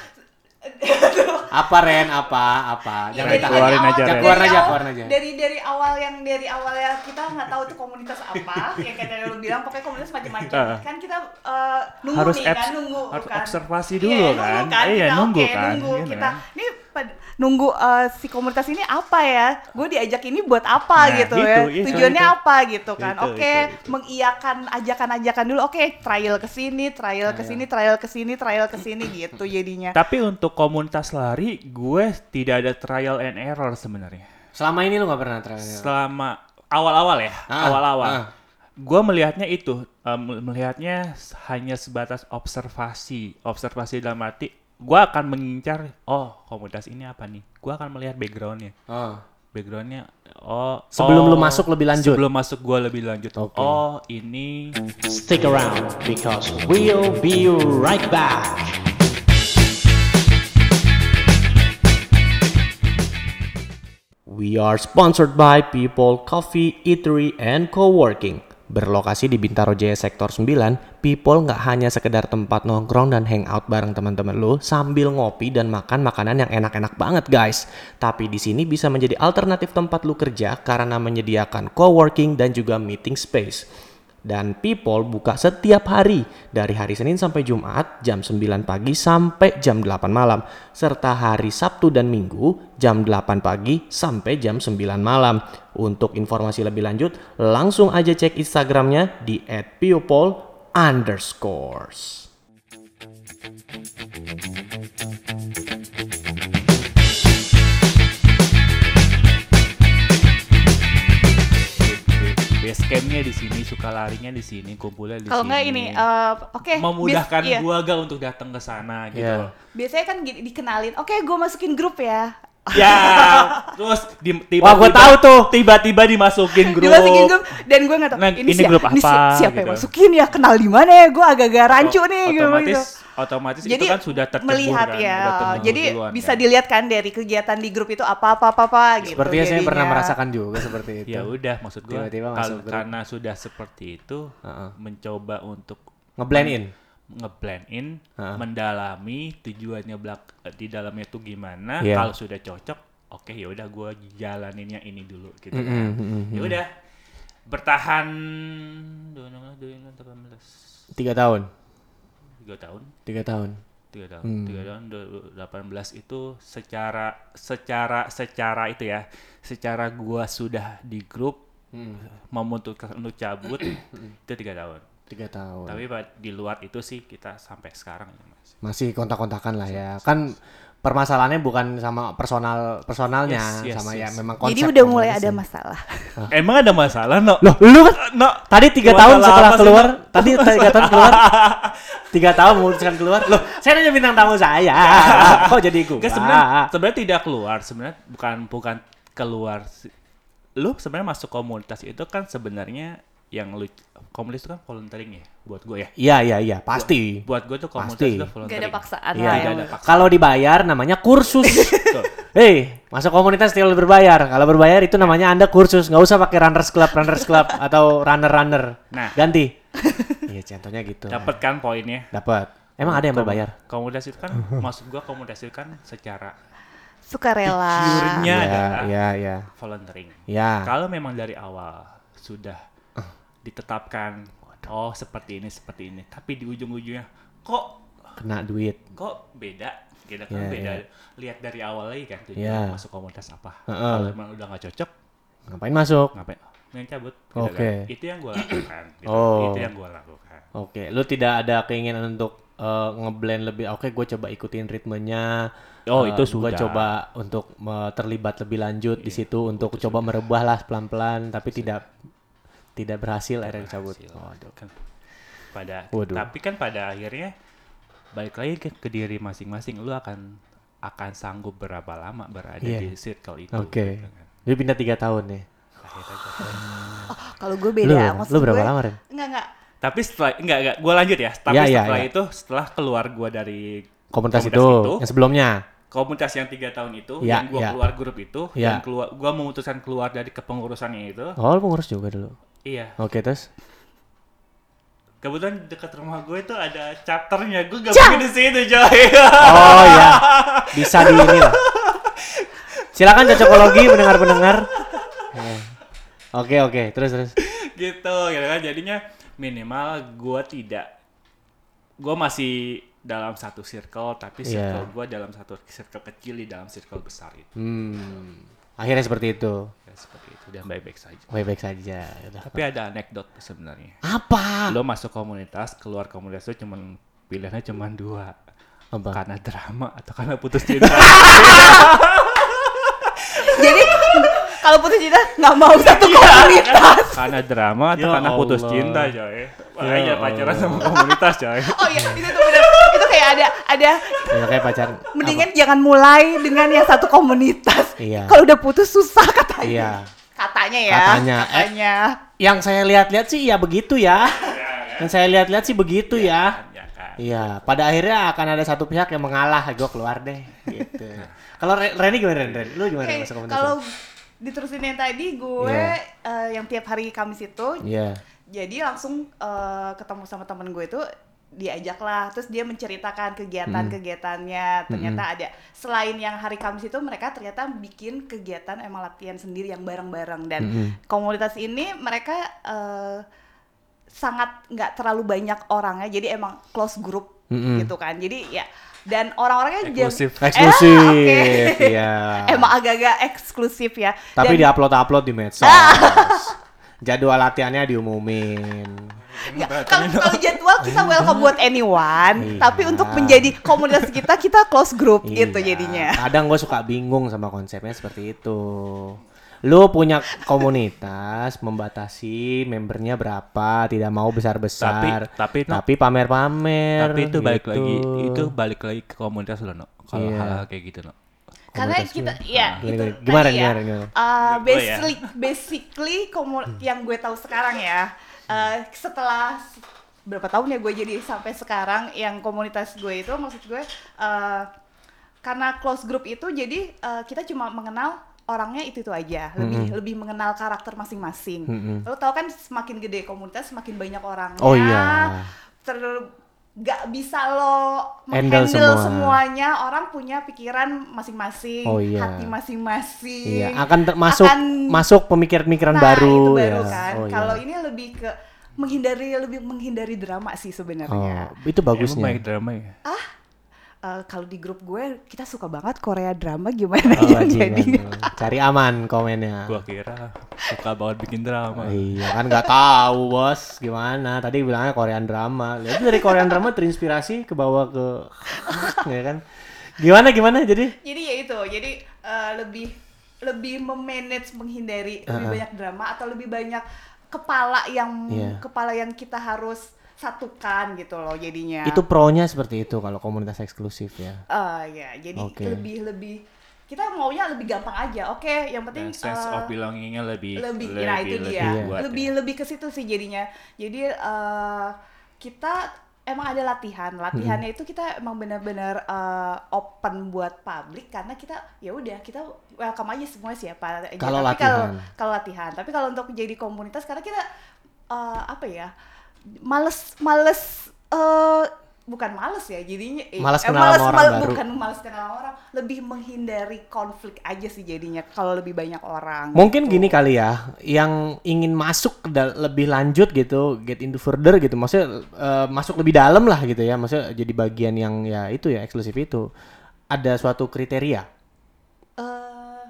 S4: apa Ren? Apa? Apa?
S3: Iya,
S4: Jangan
S2: dari
S4: ditahan.
S2: keluarin aja,
S4: Ren.
S3: dari
S4: Keluarin aja,
S3: awal-
S4: keluarin aja.
S3: Dari dari awal yang dari awalnya kita nggak tahu itu komunitas apa, yang kayak lu bilang pokoknya komunitas macam-macam.
S2: Heeh.
S3: kan kita eh, nunggu
S2: Harus
S3: nih kan,
S2: abs-
S3: nunggu
S2: harus
S3: kan.
S2: observasi
S3: Iya,
S2: dulu
S3: nunggu
S2: kan. Iya,
S3: Kita,
S2: nunggu
S3: oke,
S2: kan,
S3: Nunggu
S2: iya
S3: kita.
S2: kan.
S3: Ini pad- nunggu eh, si komunitas ini apa ya? Gue diajak ini buat apa
S2: Nah,
S3: gitu
S2: itu,
S3: ya?
S2: itu,
S3: Tujuannya
S2: itu.
S3: apa gitu kan?
S2: Itu,
S3: oke,
S2: itu, itu.
S3: mengiyakan ajakan-ajakan dulu. Oke, trial ke sini, trial
S2: Iya.
S3: ke sini, trial ke sini, trial ke sini gitu jadinya.
S2: Tapi untuk komunitas lari, gue tidak ada trial and error sebenarnya.
S4: Selama ini lu gak pernah
S1: Iya.
S4: terang.
S2: Selama awal-awal ya,
S4: Ah,
S2: awal-awal.
S4: ah.
S2: Gue melihatnya itu, eh, mel- melihatnya s- hanya sebatas observasi. Observasi dalam arti, gue akan mengincar, oh komunitas ini apa nih? Gue akan melihat backgroundnya.
S4: Oh.
S2: Backgroundnya, oh...
S1: Sebelum lu
S2: oh,
S1: masuk lebih lanjut.
S2: Sebelum masuk gue lebih lanjut.
S4: Oke.
S2: Oh, ini...
S1: Stick around because we'll be right back. We are sponsored by People Coffee, Eatery, and Coworking. Berlokasi di Bintaro Jaya Sektor 9, People nggak hanya sekedar tempat nongkrong dan hangout bareng teman-teman lo sambil ngopi dan makan makanan yang enak-enak banget guys. Tapi di sini bisa menjadi alternatif tempat lu kerja karena menyediakan coworking dan juga meeting space. Dan People buka setiap hari dari hari Senin sampai Jumat jam 9 pagi sampai jam 8 malam serta hari Sabtu dan Minggu jam 8 pagi sampai jam 9 malam. Untuk informasi lebih lanjut langsung aja cek Instagramnya di @people underscores.
S2: base campnya di sini, suka larinya di sini, kumpulnya di sini.
S3: Kalau nggak ini, eh, oke. bis-
S2: memudahkan
S3: iya.
S2: gua gak untuk datang ke sana gitu.
S4: Iya.
S2: loh.
S3: biasanya kan gini, dikenalin, oke gue masukin grup ya.
S2: Ya, terus di, tiba,
S1: Wah, gua tahu
S2: tuh tiba-tiba dimasukin grup.
S3: Dimasukin grup dan gue nggak tahu
S2: Nah, ini
S3: siapa-
S2: grup
S3: si-
S2: apa,
S3: siapa
S2: gitu.
S3: yang
S2: Oh,
S3: masukin ya, kenal di mana ya, gue agak-agak rancu nih gitu.
S2: otomatis otomatis
S3: Jadi
S2: itu kan sudah tercebur
S3: melihat
S2: kan,
S3: ya,
S2: udah tercebur
S3: jadi
S2: duluan
S3: bisa
S2: kan.
S3: dilihat kan dari kegiatan di grup itu apa apa apa, apa gitu.
S4: Sepertinya saya pernah
S3: jadinya.
S4: merasakan juga seperti itu.
S2: ya udah maksud gua
S4: Tiba-tiba
S2: kal-
S4: masuk grup.
S2: karena sudah seperti itu
S4: Heeh.
S2: mencoba untuk
S4: Ngeblend in.
S2: ngeblend in,
S4: Heeh.
S2: mendalami tujuannya belak eh, di dalamnya tuh gimana.
S4: Iya.
S2: Kalau sudah cocok, oke ya udah gua jalanin yang ini dulu gitu. kan.
S4: Mm-mm, mm-mm.
S2: Ya udah bertahan 2018
S4: Tiga tahun.
S2: tiga tahun
S4: Tiga tahun.
S2: tiga tahun
S4: Hmm.
S2: tiga tahun 2018 itu secara secara secara itu ya secara gua sudah di grup
S4: Hmm.
S2: memutuskan untuk cabut itu tiga tahun
S4: Tiga tahun.
S2: tapi pa- di luar itu sih kita sampai sekarang ya mas
S4: masih kontak-kontakan lah ya kan permasalahannya bukan sama personal personalnya
S2: Yes, yes,
S4: sama ya
S2: yes.
S4: memang konsep
S3: Jadi udah mulai
S4: komunikasi.
S3: ada masalah.
S2: emang ada masalah no
S1: Loh, lu kan
S2: no
S1: tadi tiga
S2: Gua
S1: tahun
S2: salah
S1: setelah
S2: apa sih,
S1: keluar,
S2: Bang?
S1: tadi tiga tahun keluar, tiga tahun memutuskan keluar. Loh, saya nanya bintang tamu saya, kok jadi gua?
S2: Enggak, kan sebenarnya sebenarnya tidak keluar sebenarnya bukan bukan keluar si- lu sebenarnya masuk komunitas itu kan sebenarnya yang lu komunitas itu kan volunteering ya buat gue ya
S1: Iya, iya, iya, pasti.
S2: buat gue tuh komunitas
S1: Pasti.
S2: itu
S3: Gak
S2: volunteering
S3: ada paksaan
S1: Iya,
S3: lah
S2: tidak
S3: ya.
S2: ada paksaan
S1: Kalau dibayar namanya kursus.
S2: Betul.
S1: Hei, masuk komunitas tidak boleh berbayar. Kalau berbayar itu namanya Anda kursus. Nggak usah pakai runners club, runners club atau runner-runner.
S2: Nah.
S1: ganti. Iya, contohnya gitu.
S2: dapat kan poinnya
S1: Dapat. Emang ada yang
S2: Kom-
S1: berbayar?
S2: komunitas itu kan
S1: Uh-huh.
S2: maksud gue komunitas itu kan secara
S3: Suka rela.
S2: jurnya
S4: ya
S2: adalah
S4: ya ya
S2: volunteering
S4: ya
S1: Iya.
S2: kalau memang dari awal sudah
S1: Uh.
S2: ditetapkan oh seperti ini seperti ini tapi di ujung-ujungnya kok
S4: kena duit
S2: kok beda kita kan
S4: Iya,
S2: beda
S4: iya.
S2: lihat dari awal lagi kan tujuan
S4: Iya.
S2: masuk komunitas apa
S4: Heeh.
S2: kalau emang udah nggak cocok
S4: ngapain masuk
S2: ngapain main cabut
S4: Oke.
S2: kan. itu yang gue lakukan gitu.
S4: Oh.
S2: itu yang gue lakukan
S4: oke lu tidak ada keinginan untuk eh, ngeblend lebih oke gue coba ikutin ritmenya
S2: Oh, itu
S4: gue
S2: sudah. Iya.
S4: coba untuk eh, terlibat lebih lanjut di situ untuk coba merebah lah pelan pelan tapi tidak tidak berhasil akhirnya cabut
S2: Hasil. Kan pada
S4: Waduh.
S2: tapi kan pada akhirnya balik lagi ke, ke diri masing-masing lu akan akan sanggup berapa lama berada
S1: Iya.
S2: di circle itu
S1: Oke.
S2: gitu kan.
S1: Jadi pindah tiga tahun ya.
S2: Akhirnya gua-
S3: Kalau gue
S1: Lu,
S3: beda, maksud
S1: lu berapa
S3: gue-
S1: lama Ren?
S3: Enggak enggak.
S2: tapi setelah enggak enggak gue lanjut ya tapi
S1: Iya, iya,
S2: setelah
S1: iya.
S2: itu setelah keluar gua dari
S1: Komunitas,
S2: Komunitas
S1: itu,
S2: itu.
S1: yang sebelumnya.
S2: komunitas yang tiga tahun itu
S1: Iya,
S2: yang gue
S1: iya.
S2: keluar grup itu
S1: Iya.
S2: dan keluar gue memutuskan keluar dari kepengurusannya itu
S1: Oh, lu pengurus juga dulu.
S2: iya
S1: Oke, terus
S2: kebetulan dekat rumah gue itu ada chapternya gue gabungin di situ coy
S1: Oh ya, bisa di ini lah. Silakan cocokologi pendengar-pendengar. Eh. Oke oke, terus terus.
S2: gitu gitu kan jadinya minimal gue tidak gue masih dalam satu circle tapi circle
S1: Iya.
S2: gue dalam satu circle kecil di dalam circle besar itu
S1: Hmm, akhirnya seperti itu.
S2: ya, seperti itu dan baik-baik saja
S1: Baik-baik saja. Yaudah.
S2: tapi ada anekdot sebenarnya
S1: Apa?
S2: lo masuk komunitas keluar komunitas itu cuman pilihannya cuman dua
S1: Apa?
S2: karena drama atau karena putus cinta
S3: Jadi kalau putus cinta nggak mau satu
S2: Iya.
S3: komunitas.
S2: karena drama atau
S1: Ya
S2: karena putus
S1: Allah. Ya
S2: cinta coy makanya pacaran sama komunitas coy
S3: Oh iya, itu tuh benar. Itu kayak ada ada
S1: Ya, kayak pacar.
S3: mendingan jangan mulai dengan yang satu komunitas.
S1: Iya.
S3: Kalau udah putus susah
S1: Apa?
S3: katanya.
S1: Iya.
S3: Katanya ya.
S1: Katanya. Eh.
S3: Katanya.
S1: Yang saya lihat-lihat sih ya begitu ya. Yang saya lihat-lihat sih begitu ya.
S2: ya kan
S1: Iya. Pada akhirnya akan ada satu pihak yang mengalah. Gue keluar deh. Gitu. Kalau Re- Reni gimana Ren? Ren? Lu gimana
S3: Oke,
S1: masuk komunitas?
S3: kalau diterusin yang tadi gue
S1: Iya.
S3: eh, yang tiap hari Kamis itu
S1: Iya.
S3: jadi langsung eh, ketemu sama temen gue itu diajaklah terus dia menceritakan kegiatan-kegiatannya
S1: Mm-hmm.
S3: ternyata ada selain yang hari Kamis itu mereka ternyata bikin kegiatan emang latihan sendiri yang bareng-bareng dan
S1: Mm-hmm.
S3: komunitas ini mereka eh, sangat nggak terlalu banyak orangnya jadi emang close group gitu kan jadi ya dan orang-orangnya jam-
S2: Eksklusif.
S3: Eh,
S1: Mm-hmm. Eksklusif.
S3: oke.
S1: Iya.
S3: emang agak-agak eksklusif ya
S1: Tapi
S3: Dan-
S1: diupload-upload di medsos. Jadwal latihannya diumumin.
S3: Ya, kalau kalau jadwal kita welcome buat anyone,
S1: Iya.
S3: tapi untuk menjadi komunitas kita kita close group gitu
S1: Iya.
S3: jadinya.
S1: Kadang gue suka bingung sama konsepnya seperti itu. Lu punya komunitas membatasi membernya berapa, tidak mau besar-besar.
S2: Tapi- tapi-
S1: pamer-pamer.
S2: tapi itu balik
S1: gitu.
S2: lagi itu balik lagi ke komunitas lo no kalau
S1: Iya.
S2: hal-hal kayak gitu no
S3: Karena kita ya
S1: Ah, Gimana,
S3: itu
S1: gimana, gimana,
S3: tadi ya.
S1: gimana, gimana? Hmm.
S3: uh,
S2: Menurut gue ya.
S3: basically basically komu- yang gue tahu sekarang ya, uh, setelah s- berapa tahun ya gue jadi sampai sekarang yang komunitas gue itu maksud gue uh, karena close group itu jadi uh, kita cuma mengenal orangnya itu itu aja lebih
S1: Hmm.
S3: lebih mengenal karakter masing-masing. Lo tau kan semakin gede komunitas semakin banyak orangnya.
S1: Oh iya.
S3: Ter gak bisa lo
S1: Handle semua.
S3: handle semuanya orang punya pikiran masing-masing
S1: Oh, iya.
S3: hati
S1: Iya,
S3: masing-masing
S1: akan ter- masuk
S3: Akan-
S1: masuk pemikiran-pemikiran
S3: Nah,
S1: baru,
S3: itu baru
S1: ya.
S3: kan
S1: Oh, iya.
S3: kalau ini lebih ke menghindari lebih menghindari drama sih
S1: Oh,
S3: sebenarnya Ah,
S1: itu bagusnya.
S2: Emang banyak drama ya
S1: Ah. Oh.
S3: Eh, kalau di grup gue kita suka banget Korea drama
S1: Oh,
S3: gimana yang
S1: bajingan
S3: jadi
S1: lu. Cari aman komennya.
S2: gua kira suka banget bikin
S1: Oh,
S2: drama
S1: iya kan nggak tahu bos gimana tadi bilangnya Korean drama lihat dari Korean drama terinspirasi ke bawah ke ya kan gimana gimana jadi
S3: jadi ya itu jadi eh, lebih lebih memanage menghindari lebih banyak drama atau lebih banyak kepala yang
S1: Iya.
S3: kepala yang kita harus satukan gitu loh jadinya
S1: itu pro-nya seperti itu kalau komunitas eksklusif ya
S2: Iya.
S3: Eh, ya jadi
S1: Oke.
S3: lebih lebih kita maunya lebih gampang aja oke yang penting
S2: dan Nah, sense
S3: eh,
S2: of belongingnya lebih
S3: lebih, nah itu dia
S2: lebih kuat
S3: lebih
S2: ya.
S3: lebih ke situ sih jadinya jadi eh, kita emang ada latihan latihannya itu kita emang benar-benar eh, open buat publik karena kita ya udah kita welcome aja semua
S1: Kalau
S3: siapa aja. Tapi kalau
S1: latihan.
S3: kalau latihan tapi kalau untuk jadi komunitas karena kita eh, apa ya males males eh, bukan males ya jadinya eh,
S1: Malas
S3: eh,
S1: kenal sama orang baru.
S3: bukan males kenal orang lebih menghindari konflik aja sih jadinya kalau lebih banyak orang
S1: mungkin
S3: gitu.
S1: gini kali ya yang ingin masuk ke dal- lebih lanjut gitu get into further gitu maksudnya eh, masuk lebih dalam lah gitu ya maksudnya jadi bagian yang ya itu ya eksklusif itu ada suatu kriteria
S3: eh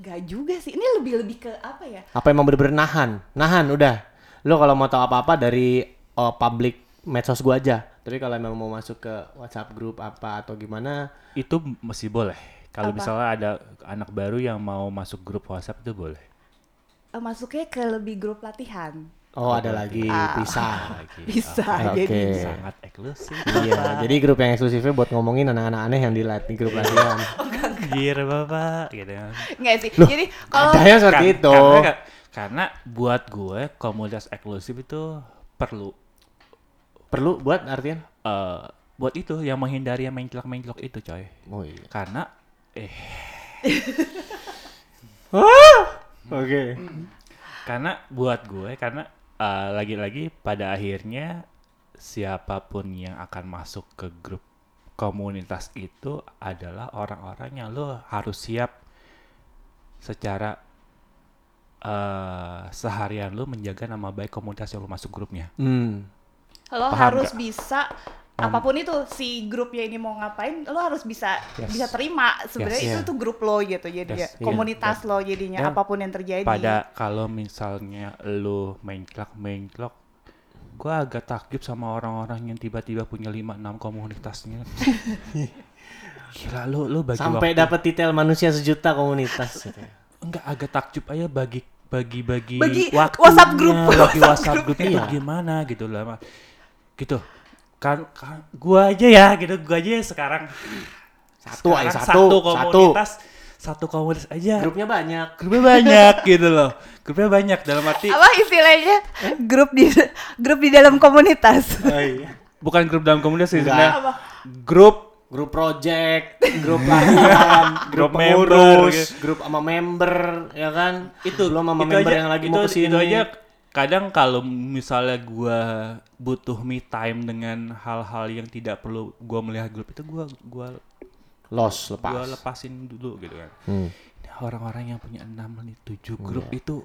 S3: nggak juga sih. Ini lebih-lebih ke apa ya?
S1: apa emang bener-bener nahan nahan udah lo kalau mau tahu apa-apa dari oh, public medsos gua aja tapi kalau emang mau masuk ke WhatsApp grup apa atau gimana
S2: itu masih boleh kalau
S3: Apa?
S2: misalnya ada anak baru yang mau masuk grup WhatsApp itu boleh
S3: Eh, Masuknya ke lebih grup latihan.
S1: Oh, ada lagi
S3: Ah.
S1: pisah.
S3: bisa
S2: ah,
S1: Oke.
S3: jadi
S2: sangat eksklusif
S1: Iya, jadi grup yang eksklusifnya buat ngomongin anak-anak aneh yang di lat- di grup
S2: Iya.
S1: latihan.
S2: Anjir bapak gitu kan.
S3: nggak sih jadi kalau
S1: ada yang seperti
S2: Kan-
S1: itu.
S2: Karena, karena buat gue komunitas eksklusif itu perlu
S1: Perlu buat artian?
S2: eh buat itu yang menghindari yang menclok-menclok itu coy.
S1: Oh iya.
S2: Karena eh
S1: Oke.
S2: karena buat gue karena eh, lagi-lagi pada akhirnya siapapun yang akan masuk ke grup komunitas itu adalah orang-orang yang lo harus siap secara eh, seharian lo menjaga nama baik komunitas yang lo masuk grupnya.
S1: Hmm.
S3: lo
S2: Paham
S3: harus
S2: nggak?
S3: bisa apapun itu si grupnya ini mau ngapain lo harus bisa
S2: Yes.
S3: bisa terima sebenarnya
S1: Yes.
S3: itu
S1: Iya.
S3: tuh grup lo gitu jadi
S2: Yes,
S3: ya,
S2: iya.
S3: komunitas lo jadinya
S2: Dan
S3: apapun yang terjadi
S2: pada kalau misalnya lu main clock main clock gue agak takjub sama orang-orang yang tiba-tiba punya 5-6 komunitasnya gila lu lu bagi
S1: Sampai
S2: waktu
S1: dapat titel manusia sejuta komunitas.
S2: ya.
S1: gitu.
S2: enggak agak takjub aja bagi bagi bagi,
S3: Bagi WhatsApp group,
S2: bagi
S3: WhatsApp
S2: WhatsApp
S3: group.
S2: group itu gimana gitu lah gitu kan, kan gua aja ya gitu gua aja ya sekarang
S1: Satu aja,
S2: sekarang
S1: satu,
S2: satu
S1: satu.
S2: komunitas satu komunitas aja
S1: Grupnya banyak.
S2: grupnya banyak gitu loh grupnya banyak dalam arti
S3: apa istilahnya grup di grup di dalam komunitas
S2: bukan grup dalam komunitas sih
S1: Enggak.
S3: Nah.
S2: sebenarnya grup
S1: Grup project, grup latihan,
S2: Grup
S1: grup
S2: member,
S1: pengurus,
S2: gitu.
S1: grup sama member, ya kan?
S2: itu
S1: belum sama
S2: itu
S1: member
S2: aja-
S1: yang lagi
S2: itu,
S1: mau kesini.
S2: itu aja kadang kalau misalnya gua butuh me time dengan hal-hal yang tidak perlu gua melihat grup itu gua gua
S1: Los lepas.
S2: gua lepasin dulu gitu kan
S1: Hmm.
S2: Ini orang-orang yang punya 6 menit
S1: Iya.
S2: 7 grup itu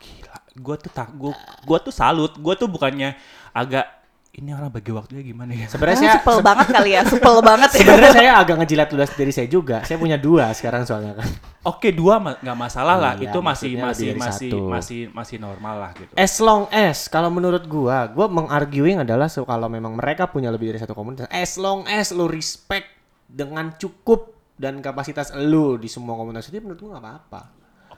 S2: gila gua tuh tak gua, gua tuh salut gua tuh bukannya agak ini orang bagi waktunya gimana ya
S1: Sebenarnya saya
S3: Orang supel banget kali ya supel banget ya
S1: sebenarnya saya agak ngejilat ludas diri saya juga. Saya punya dua sekarang soalnya kan.
S2: Oke dua ma- nggak masalah lah,
S1: Iya,
S2: itu masih
S1: maksudnya lebih
S2: masih
S1: dari
S2: masih
S1: satu.
S2: masih masih normal lah gitu.
S1: As long as kalau menurut gua, gua mengarguing adalah so, kalau memang mereka punya lebih dari satu komunitas, as long as lu respect dengan cukup dan kapasitas lu di semua komunitas itu menurut gua nggak apa-apa.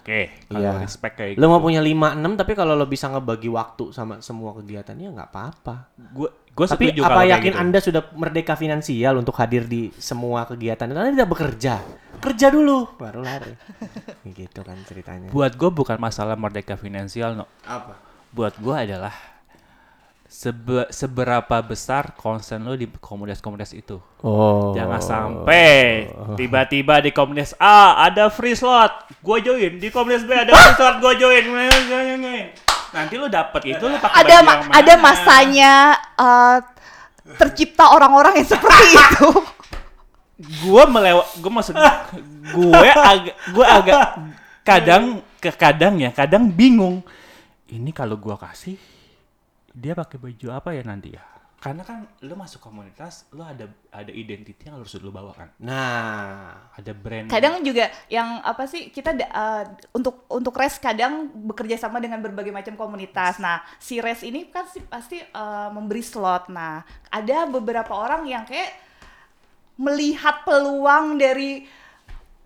S2: Oke, kalau
S1: Iya.
S2: respect kayak gitu.
S1: Lu mau punya 5 6 tapi kalau lu bisa ngebagi waktu sama semua kegiatannya ya nggak apa-apa.
S2: gue gue
S1: Tapi
S2: setuju
S1: apa
S2: kalau kayak
S1: yakin
S2: gitu.
S1: Anda sudah merdeka finansial untuk hadir di semua kegiatan? Anda tidak bekerja. Kerja dulu baru lari. gitu kan ceritanya.
S2: Buat gue bukan masalah merdeka finansial, no.
S1: Apa?
S2: Buat gue adalah sebe- seberapa besar concern lo di komunitas-komunitas itu.
S1: Oh.
S2: Jangan sampai tiba-tiba di komunitas A ada free slot, gue join. Di komunitas B ada free slot, gue join. Nanti lo dapet itu lo pakai
S3: ada
S2: baju
S3: ma-
S2: yang
S3: ada
S2: mana?
S3: masanya eh, tercipta orang-orang yang seperti itu
S2: gue melewat gue maksud gue agak gue agak kadang ke kadang ya kadang bingung ini kalau gue kasih dia pakai baju apa ya nanti ya karena kan lo masuk komunitas lo ada ada identity yang harus lo bawa kan
S1: Nah,
S2: ada brand
S3: kadang juga yang apa sih kita da- eh, untuk untuk res kadang bekerja sama dengan berbagai macam komunitas nah si res ini kan si- pasti eh, memberi slot nah ada beberapa orang yang kayak melihat peluang dari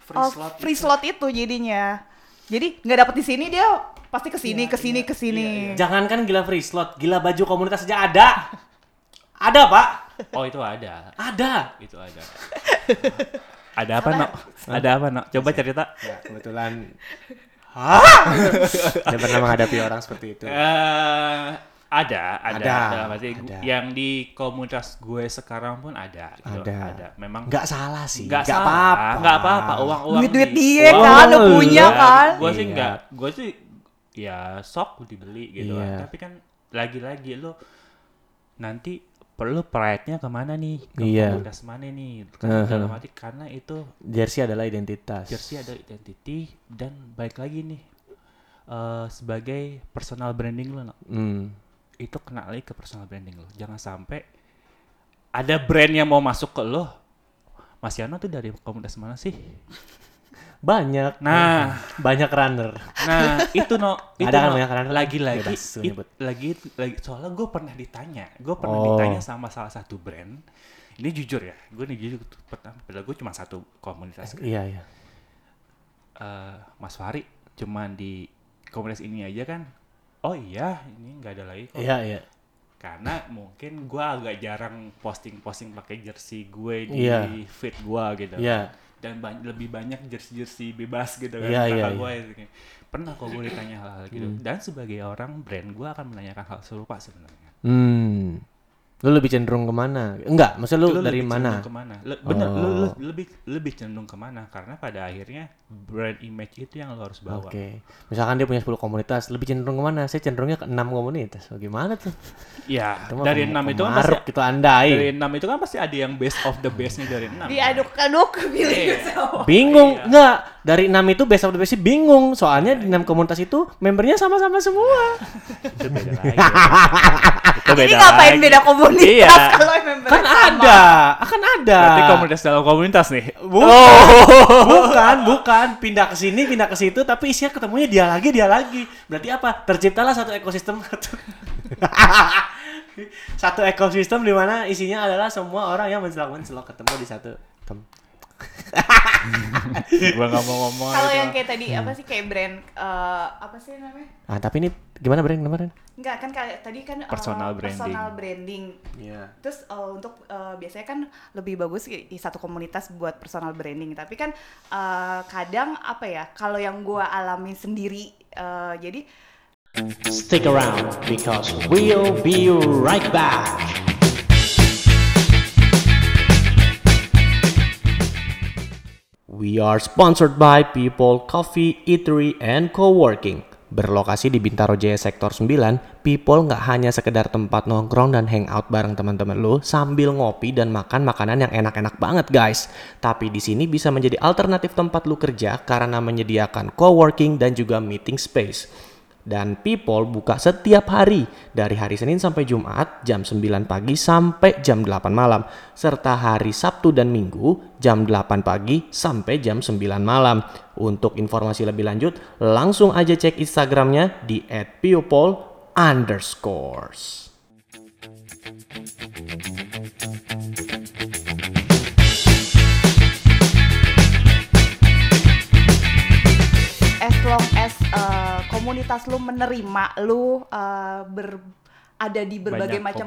S1: Free
S3: eh,
S1: slot
S3: free slot itu jadinya jadi nggak dapet di sini dia pasti
S1: Iya,
S3: kesini kesini kesini
S1: Jangankan gila free slot, gila baju komunitas aja ada. Ada, Pak.
S2: oh itu ada
S1: Ada.
S2: itu ada ada apa nok ada apa nok coba cerita
S1: Ya, kebetulan Saya pernah menghadapi orang seperti itu.
S2: eh ada, ada,
S1: Ada,
S2: ada. Maksudnya gu-
S1: ada.
S2: Yang di komunitas gue sekarang pun ada, gitu.
S1: Ada.
S2: Memang
S1: Nggak salah sih.
S2: nggak
S1: nggak
S2: salah,
S1: apa-apa.
S2: nggak apa-apa. Uang uang
S3: Duit-duit dia kan,
S1: udah punya
S3: kan.
S2: Gue sih
S1: Oh, Iya.
S2: nggak, gue sih ya sok dibeli gitu.
S1: Iya.
S2: Tapi kan lagi-lagi lo nanti perlu pride-nya kemana nih? Ke
S1: Iya.
S2: komunitas mana nih? Karena dalam arti karena itu
S1: Jersey adalah identitas.
S2: jersey ada identity dan balik lagi nih eh, sebagai personal branding lo. Nok
S1: Hmm.
S2: itu kena lagi ke personal branding lo. Jangan sampai ada brand yang mau masuk ke lo. Mas Yano tuh dari komunitas mana sih?
S1: Banyak.
S2: Nah.
S1: banyak runner.
S2: Nah, itu no, itu
S1: Ada kan
S2: no.
S1: banyak kan?
S2: lagi-lagi,
S1: Bebas, lu
S2: it-
S1: nyebut.
S2: lagi, lagi, soalnya gue pernah ditanya, gue pernah
S1: Oh.
S2: ditanya sama salah satu brand. Ini jujur ya, gue nih jujur, pernah, padahal gue cuma satu komunitas.
S1: Iya, iya.
S2: Eh, Mas Fahri, cuman di komunitas ini aja kan. oh iya ini nggak ada lagi kok
S1: Iya, iya.
S2: karena mungkin gue agak jarang posting-posting pakai jersey gue di
S1: Iya.
S2: feed gue gitu
S1: Iya.
S2: dan ba- lebih banyak jersey-jersey bebas gitu kan
S1: Iya,
S2: kakak
S1: iya, Hmm.
S2: gue gitu. pernah kok gue ditanya hal, hal gitu dan sebagai orang brand gue akan menanyakan hal serupa sebenarnya
S1: Hmm. Lu lebih cenderung kemana? Enggak, maksud lu,
S2: Lu
S1: dari
S2: lebih
S1: mana? Oh.
S2: cenderung kemana Le- bener lu, lu lebih lebih cenderung kemana karena pada akhirnya brand image itu yang lo harus bawa
S1: Oke. Misalkan dia punya 10 komunitas, lebih cenderung kemana? Saya cenderungnya ke 6 komunitas. Bagaimana tuh?
S2: ya
S1: Itu mah
S2: dari
S1: pem-
S2: enam itu kan pasti
S1: pemaruk itu gitu, andai.
S2: dari enam itu kan pasti ada yang best of the best nya dari
S3: Iya,
S2: enam
S3: Diaduk-aduk pilih
S1: Iya.
S2: Oh,
S3: sama.
S1: Bingung,
S2: iya.
S1: enggak. Dari 6 itu best of the best sih bingung. Soalnya di 6 komunitas itu membernya sama-sama semua.
S2: itu beda lagi itu
S3: Jadi
S2: beda
S3: ngapain
S2: lagi.
S3: beda komunitas
S2: Iya.
S3: kalau member
S1: kan ada, akan ada.
S2: berarti komunitas Oh. dalam komunitas nih
S1: Bukan, bukan, bukan. Pindah ke sini, pindah ke situ, tapi isinya ketemunya dia lagi, dia lagi. Berarti apa? Terciptalah satu ekosistem satu. satu ekosistem di mana isinya adalah semua orang yang mencelok-mencelok ketemu di satu tem-
S2: gua nggak mau ngomong
S3: Kalau
S2: gitu.
S3: yang kayak tadi apa sih kayak brand eh, apa sih namanya?
S1: Ah, tapi ini gimana, Bren? Kemarin?
S3: Enggak kan kayak tadi kan eh,
S2: Personal branding.
S3: Personal branding.
S1: Iya.
S3: Terus eh, untuk eh, biasanya kan lebih bagus i- i- satu komunitas buat personal branding. Tapi kan eh, kadang apa ya? Kalau yang gua alamin sendiri, eh, jadi
S1: Stick around because we'll be right back. We are sponsored by People Coffee, Eatery, and Coworking. Berlokasi di Bintaro Jaya Sektor 9, People nggak hanya sekedar tempat nongkrong dan hangout bareng teman-teman lo sambil ngopi dan makan makanan yang enak-enak banget guys. Tapi di sini bisa menjadi alternatif tempat lu kerja karena menyediakan coworking dan juga meeting space. Dan People buka setiap hari dari hari Senin sampai Jumat jam 9 pagi sampai jam 8 malam serta hari Sabtu dan Minggu jam 8 pagi sampai jam 9 malam. Untuk informasi lebih lanjut langsung aja cek Instagramnya di @people underscores.
S3: as long as eh, komunitas lu menerima lu eh, ber ada di berbagai
S2: Banyak
S3: macam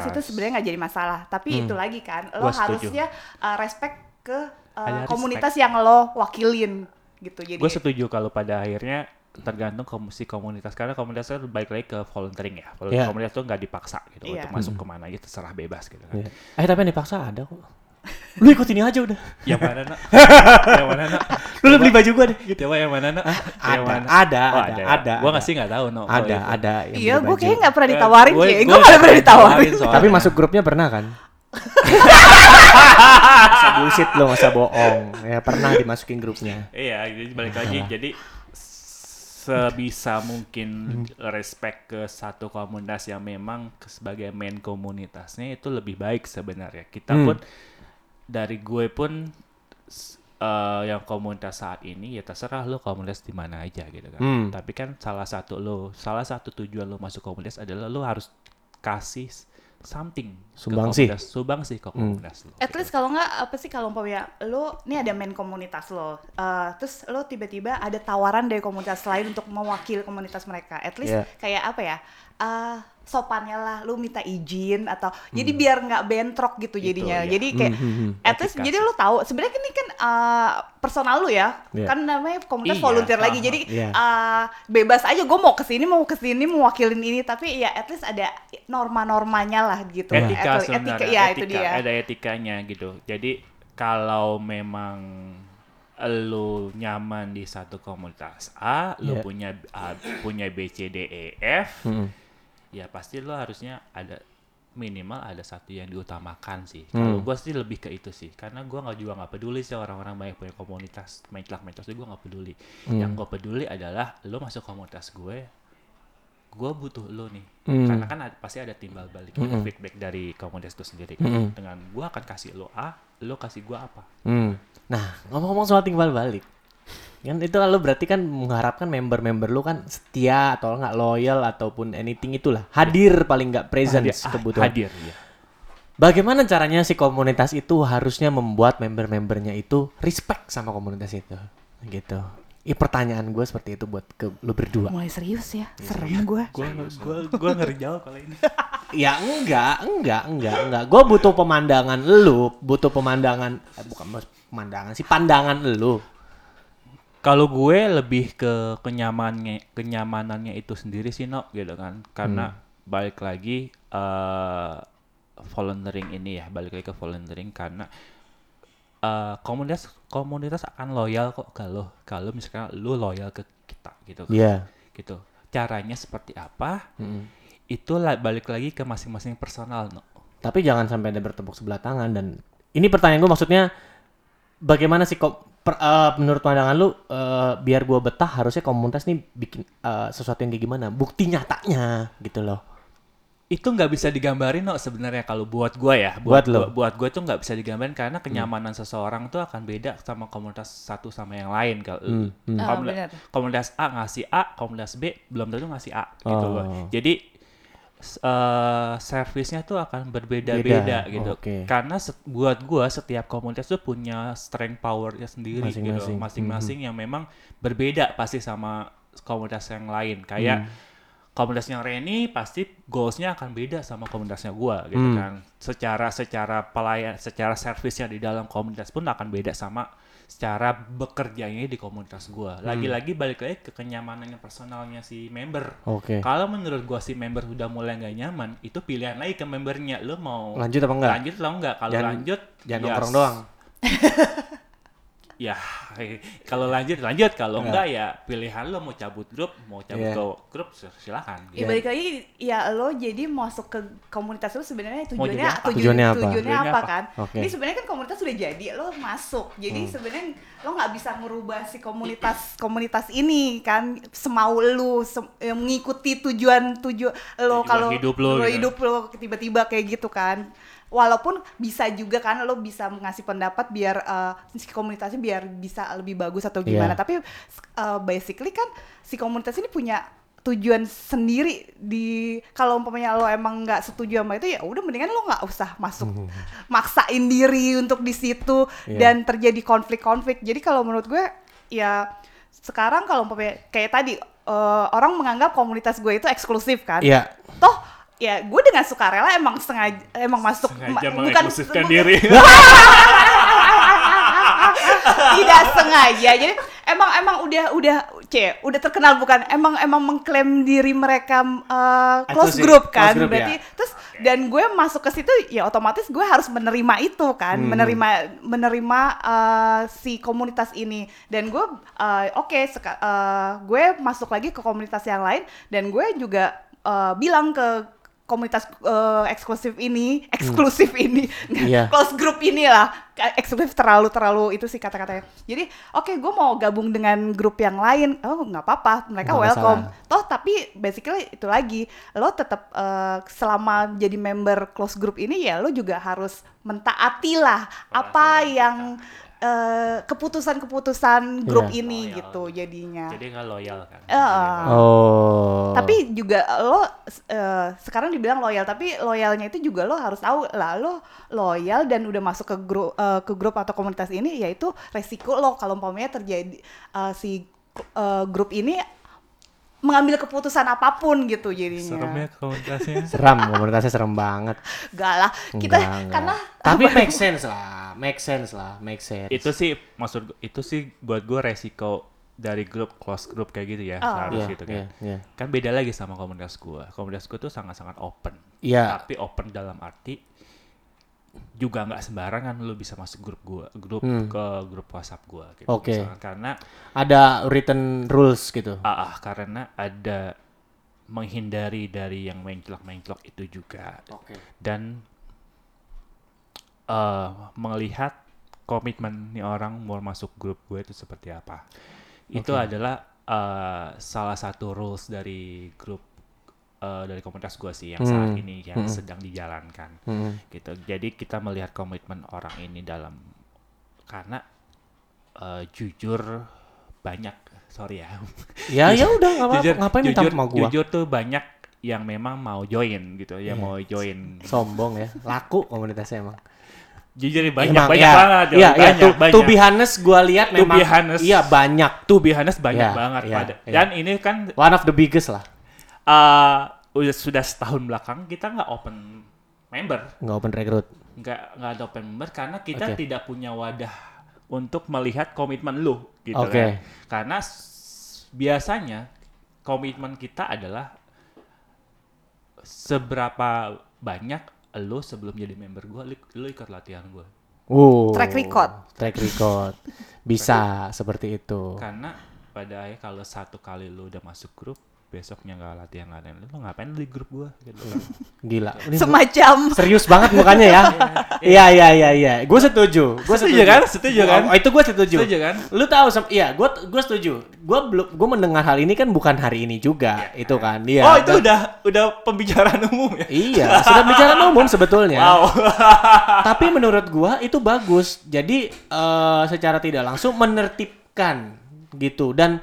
S2: komunitas. Hmm.
S3: itu sebenarnya nggak jadi masalah. Tapi itu lagi kan, lo
S2: Gua setuju.
S3: harusnya eh, respect ke eh,
S2: Ada
S3: komunitas yang lo wakilin gitu. Jadi
S2: gue setuju kalau pada akhirnya tergantung kom- si komunitas karena komunitas itu baik lagi ke volunteering ya kalau
S1: Iya.
S2: komunitas tuh nggak dipaksa gitu
S3: Iya.
S2: untuk masuk kemana aja terserah bebas gitu kan
S1: Eh tapi yang dipaksa ada kok. Lu ikut ini aja udah.
S2: yang mana nak yang mana nak
S1: Lu beli baju gua deh.
S2: gitu yang mana Oh, nak
S1: Ah, Ada, ada, ada, ada,
S2: gue
S1: ada.
S2: nggak sih nggak tahu no
S1: Ada, ada. yang
S3: Iya,
S1: beli
S3: gue
S1: baju.
S3: kayaknya nggak pernah ditawarin
S2: Eh, Gua-
S3: sih.
S2: gua
S3: Gue nggak pernah ditawarin.
S2: soalnya.
S1: Tapi masuk grupnya pernah kan? masa bullshit lo, masa bohong. Ya pernah dimasukin grupnya.
S2: Iya, jadi balik lagi. Jadi sebisa mungkin respect ke satu komunitas yang memang ke- sebagai main komunitasnya itu lebih baik sebenarnya. Kita pun dari gue pun s- eh, yang komunitas saat ini ya terserah lo komunitas di mana aja gitu kan. Tapi kan salah satu lo, salah satu tujuan lo masuk komunitas adalah lo harus kasih s- something
S1: Sumbangsi.
S2: ke komunitas, sumbangsi ke komunitas lo. gitu.
S3: At least kalau nggak apa sih kalau umpamanya lo nih ada main komunitas lo, eh, terus lo tiba-tiba ada tawaran dari komunitas lain untuk mewakili komunitas mereka. At least
S1: Iya.
S3: kayak apa ya? eh, sopannya lah lo minta izin atau jadi
S2: Hmm.
S3: biar nggak bentrok gitu jadinya.
S2: ya.
S3: Jadi kayak at least jadi lo tahu sebenarnya ini kan eh, personal lo ya.
S1: Iya.
S3: Kan namanya komunitas
S2: Iya,
S3: volunteer
S2: aha,
S3: lagi. Jadi
S1: iya.
S3: eh, bebas aja gue mau kesini mau kesini mewakilin ini tapi ya at least ada norma-normanya lah gitu.
S2: etika
S3: At-
S2: sebenarnya
S3: etika, ya itu
S2: etika,
S3: dia.
S2: ada etikanya gitu jadi kalau memang lu nyaman di satu komunitas A
S1: Iya.
S2: lu punya A, punya B C D E F ya pasti lu harusnya ada minimal ada satu yang diutamakan sih kalau gua sih lebih ke itu sih karena gua nggak juga nggak peduli sih orang-orang banyak punya komunitas menclak menclak itu gua nggak peduli yang gua peduli adalah lu masuk komunitas gue gue butuh lo nih karena kan ada- pasti ada timbal balik ada feedback dari komunitas itu sendiri kan dengan gue akan kasih lo A lo kasih gue apa
S1: Hmm. Nah, ngomong-ngomong soal timbal balik. Kan itu lo berarti kan mengharapkan member-member lu kan setia atau nggak loyal ataupun anything itulah. Hadir paling nggak presence
S2: Ah,
S1: kebutuhan.
S2: hadir ya
S1: Bagaimana caranya si komunitas itu harusnya membuat member-membernya itu respect sama komunitas itu? Gitu.
S4: Ih, pertanyaan gue seperti itu buat ke lu berdua.
S3: Mulai serius ya,
S2: Iya,
S3: serem gue.
S2: Gue gue gue ngeri jauh kalau ini.
S4: Ya enggak, enggak, enggak, enggak. Gue butuh pemandangan lu, butuh pemandangan, eh, bukan mas- pemandangan sih, pandangan lu.
S2: Kalau gue lebih ke kenyamanannya kenyamanannya itu sendiri sih no gitu kan. Karena balik lagi eh volunteering ini ya, balik lagi ke volunteering karena eh komunitas komunitas akan loyal kok kalau kalau misalkan lu loyal ke kita gitu kan.
S4: Iya.
S2: Gitu. Caranya seperti apa? Itu la- balik lagi ke masing-masing personal no.
S4: Tapi jangan sampai ada bertepuk sebelah tangan dan ini pertanyaan gue maksudnya bagaimana sih kok per- eh, menurut pandangan lu eh, biar gue betah harusnya komunitas nih bikin eh, sesuatu yang kayak gimana? Bukti nyatanya gitu loh.
S2: itu nggak bisa digambarin no sebenarnya kalau buat gua ya
S4: Buat
S2: buat
S4: lo.
S2: gua, buat gue tuh nggak bisa digambarin karena kenyamanan seseorang tuh akan beda sama komunitas satu sama yang lain kalau
S1: Hmm.
S4: Hmm,
S3: Ah,
S2: komuni-
S3: benar.
S2: komunitas A ngasih A komunitas B belum tentu ngasih A gitu loh
S4: Oh.
S2: jadi s- eh, servisnya tuh akan berbeda-beda
S4: Beda,
S2: gitu
S4: oke.
S2: karena set- buat gua setiap komunitas tuh punya strength powernya sendiri
S4: Masing-masing. Hmm.
S2: gitu masing-masing yang memang berbeda pasti sama komunitas yang lain
S4: Hmm.
S2: kayak komunitasnya Reni pasti goalsnya akan beda sama komunitasnya gua gitu
S4: Hmm.
S2: kan secara secara pelayan secara servisnya di dalam komunitas pun akan beda sama secara bekerjanya di komunitas
S4: Hmm.
S2: gua lagi-lagi balik lagi ke kenyamanannya personalnya si member
S4: Oke.
S2: kalau menurut gua si member udah mulai nggak nyaman itu pilihan lagi ke membernya lo mau
S4: Lanjut apa enggak?
S2: lanjut atau enggak kalau
S4: Jangan-
S2: lanjut
S4: Jangan
S2: ya
S4: nongkrong doang.
S2: ya kalau lanjut lanjut kalau enggak ya pilihan lo mau cabut grup mau cabut
S4: Iya.
S2: ke grup sil- silakan
S3: Ya, balik lagi ya lo jadi masuk ke komunitas lo sebenarnya
S2: Mau
S3: tujuannya
S2: jadi apa?
S3: tujuan-
S4: Tujuannya apa?
S3: tujuannya
S2: Tujuannya
S3: apa
S2: apa? Hmm.
S3: kan?
S4: Oke.
S3: Ini sebenarnya kan komunitas sudah jadi lo masuk. Jadi sebenarnya lo nggak bisa merubah si komunitas komunitas ini kan semau lo sem- eh, mengikuti tujuan tujuan
S2: Tujuan
S3: lo kalau
S2: hidup lo
S3: lo
S2: gitu.
S3: hidup lo tiba-tiba kayak gitu kan. Walaupun bisa juga kan lo bisa mengasih pendapat biar eh, si komunitasnya biar bisa lebih bagus atau
S4: Iya.
S3: gimana. Tapi uh, basically kan si komunitas ini punya tujuan sendiri di kalau umpamanya lo emang nggak setuju sama itu ya udah mendingan lo nggak usah masuk maksain diri untuk di situ dan terjadi konflik-konflik jadi kalau menurut gue ya sekarang kalau umpamanya kayak tadi eh, orang menganggap komunitas gue itu eksklusif kan
S4: Iya.
S3: toh ya gue dengan sukarela emang sengaja emang masuk
S2: sengaja
S3: ma-
S2: mengeksklusifkan
S3: bukan-
S2: diri
S3: tidak sengaja jadi emang emang udah udah c udah terkenal bukan emang emang mengklaim diri mereka eh, close
S4: Eksklusif,
S3: group kan
S4: close group,
S3: berarti
S4: ya.
S3: terus dan gue masuk ke situ ya otomatis gue harus menerima itu kan
S4: Hmm.
S3: menerima menerima eh, si komunitas ini dan gue eh, oke seka- eh, gue masuk lagi ke komunitas yang lain dan gue juga eh, bilang ke komunitas eh, eksklusif ini eksklusif ini
S4: Hmm. Iya.
S3: close group inilah eksklusif terlalu terlalu itu sih kata-katanya jadi oke gue mau gabung dengan grup yang lain oh nggak apa-apa mereka
S4: Nggak
S3: welcome toh tapi basically itu lagi lo tetap eh, selama jadi member close group ini ya lo juga harus mentaati lah apa yang eh, keputusan-keputusan grup
S4: Iya.
S3: ini
S2: Loyal.
S3: gitu jadinya
S2: jadi nggak loyal kan
S3: Eh, eh.
S4: Oh.
S3: tapi juga lo eh, sekarang dibilang loyal tapi loyalnya itu juga lo harus tahu lah lo loyal dan udah masuk ke grup ke grup atau komunitas ini yaitu resiko lo kalau umpamanya terjadi eh, si eh, grup ini mengambil keputusan apapun gitu jadinya
S4: ya
S2: seremnya komunitasnya
S4: seram, komunitasnya serem banget.
S3: Enggak lah kita
S4: Enggak, enggak.
S3: karena
S4: tapi make sense lah, make sense lah, make sense.
S2: itu sih maksud gu- itu sih buat gue resiko dari grup close group kayak gitu ya harus
S4: Iya,
S2: gitu kan
S4: iya, iya.
S2: kan beda lagi sama komunitas gue komunitas gue tuh sangat-sangat open
S4: Iya.
S2: tapi open dalam arti juga nggak sembarangan lo bisa masuk grup gue grup ke grup WhatsApp gue gitu
S4: Hmm. Oke.
S2: misalkan. karena
S4: Ada written rules gitu.
S2: Ah, ah, karena ada menghindari dari yang menclok-menclok itu juga.
S4: Oke.
S2: Dan eh, melihat komitmen nih orang mau masuk grup gue itu seperti apa. Itu adalah eh, salah satu rules dari grup eh, dari komunitas gue sih yang saat
S4: Hmm.
S2: ini yang sedang dijalankan. Gitu. Jadi kita melihat komitmen orang ini dalam karena eh, jujur banyak sorry ya
S4: Ya ya udah nggak apa-apa.
S2: jujur,
S4: Ngapain minta
S2: jujur,
S4: sama gua?
S2: jujur tuh banyak
S1: Iya.
S2: yang memang mau join gitu, yang mau join.
S4: Sombong ya. Laku komunitasnya emang.
S2: Jadi dari banyak
S1: Emang,
S2: banyak
S1: ya.
S2: banget, ya,
S1: Iya, iya.
S2: banyak
S1: To,
S2: banyak.
S1: to be honest, gua lihat
S2: To
S1: memang
S2: be honest.
S1: iya banyak.
S2: To be honest, banyak
S1: Iya,
S2: banget
S1: iya,
S2: pada.
S1: iya.
S2: Dan ini kan
S1: One of the biggest lah.
S2: eh, udah sudah setahun belakang kita nggak open member,
S1: Nggak open recruit.
S2: nggak nggak ada open member karena kita
S1: Oke.
S2: tidak punya wadah untuk melihat komitmen lu gitu kan.
S1: Oke.
S2: Karena s- biasanya komitmen kita adalah seberapa banyak lu sebelum jadi member gua lu, lu ikut latihan gua.
S1: Wow.
S3: Track record.
S1: Track record. Bisa seperti itu.
S2: Karena pada akhirnya kalau satu kali lu udah masuk grup, besoknya nggak latihan latihan lu ngapain lu di grup gua gitu. kan.
S1: Gila. Ini
S3: Semacam
S1: serius banget mukanya ya. Iya iya iya iya. Gue setuju. Gue
S2: Setuju kan? Setuju kan?
S1: Oh, itu gue setuju.
S2: Setuju kan?
S1: Lu tahu sem- iya, gue gue setuju. Gue belum gue mendengar hal ini kan bukan hari ini juga, itu kan. Iya.
S2: oh, itu
S1: Dan-
S2: udah udah pembicaraan umum ya.
S1: Iya, sudah bicara umum sebetulnya.
S2: Wow.
S1: Tapi menurut gua itu bagus. Jadi eh, secara tidak langsung menertibkan gitu dan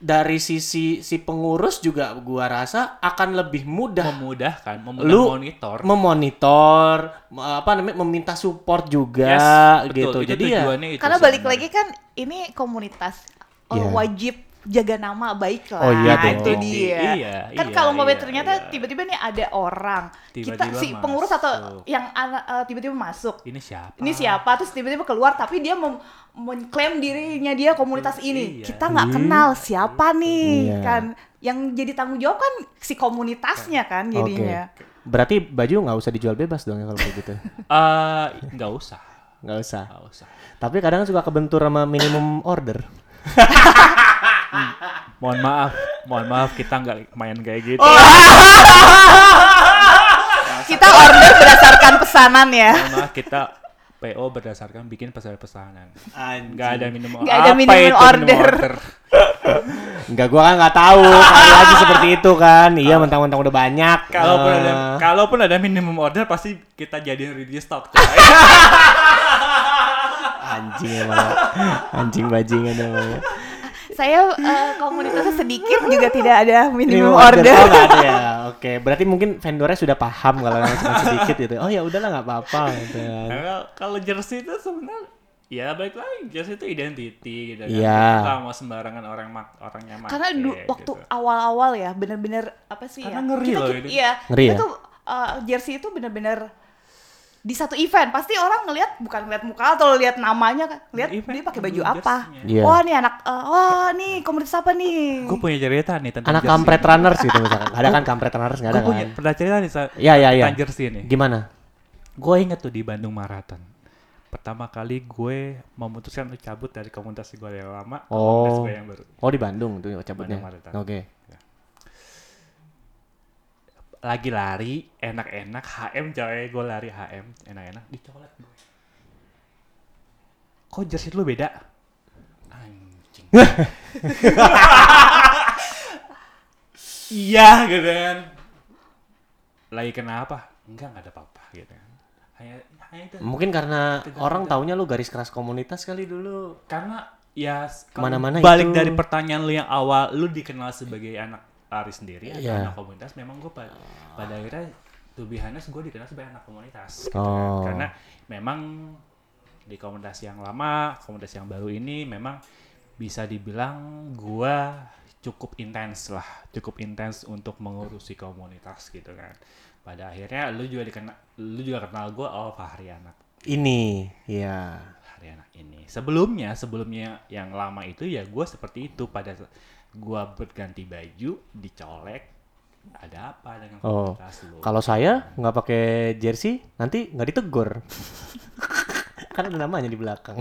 S1: dari sisi si pengurus juga gua rasa akan lebih mudah
S2: memudahkan, memudah
S1: lu
S2: monitor.
S1: memonitor me- apa namanya meminta support juga
S2: Yes,
S1: gitu.
S2: itu
S1: Jadi ya
S2: tujuannya itu
S3: karena balik
S2: sebenarnya.
S3: lagi kan ini komunitas Oh,
S1: Iya.
S3: wajib jaga nama baik lah
S1: Oh, iya
S3: Nah,
S1: dong.
S3: itu dia
S2: Iya, iya,
S3: kan kalau mau
S2: iya, iya.
S3: ternyata tiba-tiba nih ada orang kita
S2: Tiba-tiba
S3: si pengurus atau
S2: masuk. Iya. Ah.
S3: yang ana- eh, tiba-tiba masuk
S2: Ini siapa?
S3: ini siapa terus tiba-tiba keluar tapi dia mem- mengklaim dirinya dia komunitas ini
S2: Iya.
S3: kita nggak kenal siapa nih
S1: Iya.
S3: kan yang jadi tanggung jawab kan si komunitasnya kan
S1: oke.
S3: jadinya
S1: Berarti baju nggak usah dijual bebas dong ya kalau begitu.
S2: Eh, nggak usah.
S1: Nggak usah.
S2: Nggak usah.
S1: Tapi kadang suka kebentur sama minimum order.
S2: Mohon maaf, mohon maaf kita nggak main kayak gitu.
S3: Oh. kita order berdasarkan pesanan ya
S2: Mohon maaf kita PO berdasarkan bikin pesanan-pesanan. Nggak ada minimum
S3: Nggak ada minimum order.
S1: Enggak, gua kan nggak tahu. Kali lagi seperti itu kan. Iya, mentang-mentang udah banyak.
S2: Kalaupun
S1: Eh,
S2: ada kalaupun ada minimum order pasti kita jadiin reduce stock.
S1: anjing emang. ya. Anjing bajingan emang. ya.
S3: saya eh, komunitasnya sedikit juga tidak ada minimum,
S1: Oh,
S3: order
S1: nggak ada ya. Oke, berarti mungkin vendornya sudah paham kalau memang cuma sedikit gitu. Oh ya udahlah nggak apa-apa gitu kan.
S2: Kalau- kalau jersey itu sebenarnya ya balik lagi jersey itu identity gitu kan.
S1: Iya.
S2: Nggak mau sembarangan orang mak orang yang
S3: karena
S2: make,
S3: du-
S2: gitu.
S3: waktu awal-awal ya bener-bener apa sih
S2: Karena
S3: ya
S2: ngeri
S3: kita,
S2: loh
S3: kita-
S2: ini.
S3: iya
S1: Ngeri
S3: kita
S1: ya?
S3: tuh eh, jersey itu bener-bener di satu event pasti orang ngelihat bukan ngelihat muka atau lihat namanya kan lihat
S2: Event
S3: dia pakai baju
S2: dulu
S3: apa
S2: jersey-nya.
S1: Iya.
S3: wah nih anak eh, wah nih komunitas apa nih
S2: Gue punya cerita nih tentang
S1: Anak
S2: jersey. Oh, iya.
S1: kampret runners gitu misalkan. Ada kan kampret runners nggak ada
S2: Gue punya
S1: kan?
S2: pernah cerita nih sa-
S1: Ya ya ya.
S2: tentang jersey nih.
S1: Gimana?
S2: Gue inget tuh di Bandung Marathon. Pertama kali gue memutuskan untuk cabut dari komunitas gue yang lama ke komunitas
S1: Oh.
S2: gue yang baru.
S1: Oh di Bandung tuh cabutnya.
S2: Bandung, Maretan.
S1: Oke.
S2: Lagi lari, enak-enak, HM coy, gue lari HM, enak-enak, dicolek gue. Kok jersey lu beda? Anjing. Iya gitu kan. Lagi kenapa? Enggak, enggak ada apa-apa gitu kan. Hanya, hanya itu.
S1: Mungkin karena orang taunya lu garis keras komunitas kali dulu.
S2: karena ya s-
S1: Kemana-mana
S2: kalau balik
S1: itu.
S2: dari pertanyaan lu yang awal lu dikenal sebagai anak lari sendiri atau
S1: Iya.
S2: anak komunitas memang gue pada, pada akhirnya to be honest gue dikenal sebagai anak komunitas gitu
S1: Oh.
S2: kan. karena memang di komunitas yang lama komunitas yang baru ini memang bisa dibilang gue cukup intens lah cukup intens untuk mengurusi komunitas gitu kan pada akhirnya lu juga dikenal lu juga kenal gue oh Fahri anak
S1: Ini, iya.
S2: hari anak ini. Sebelumnya, sebelumnya yang lama itu ya gue seperti itu pada gue berganti baju, dicolek, ada apa dengan
S1: Oh,
S2: komunitas lu?
S1: kalau saya nggak pakai jersey, nanti nggak ditegur. kan ada namanya di belakang.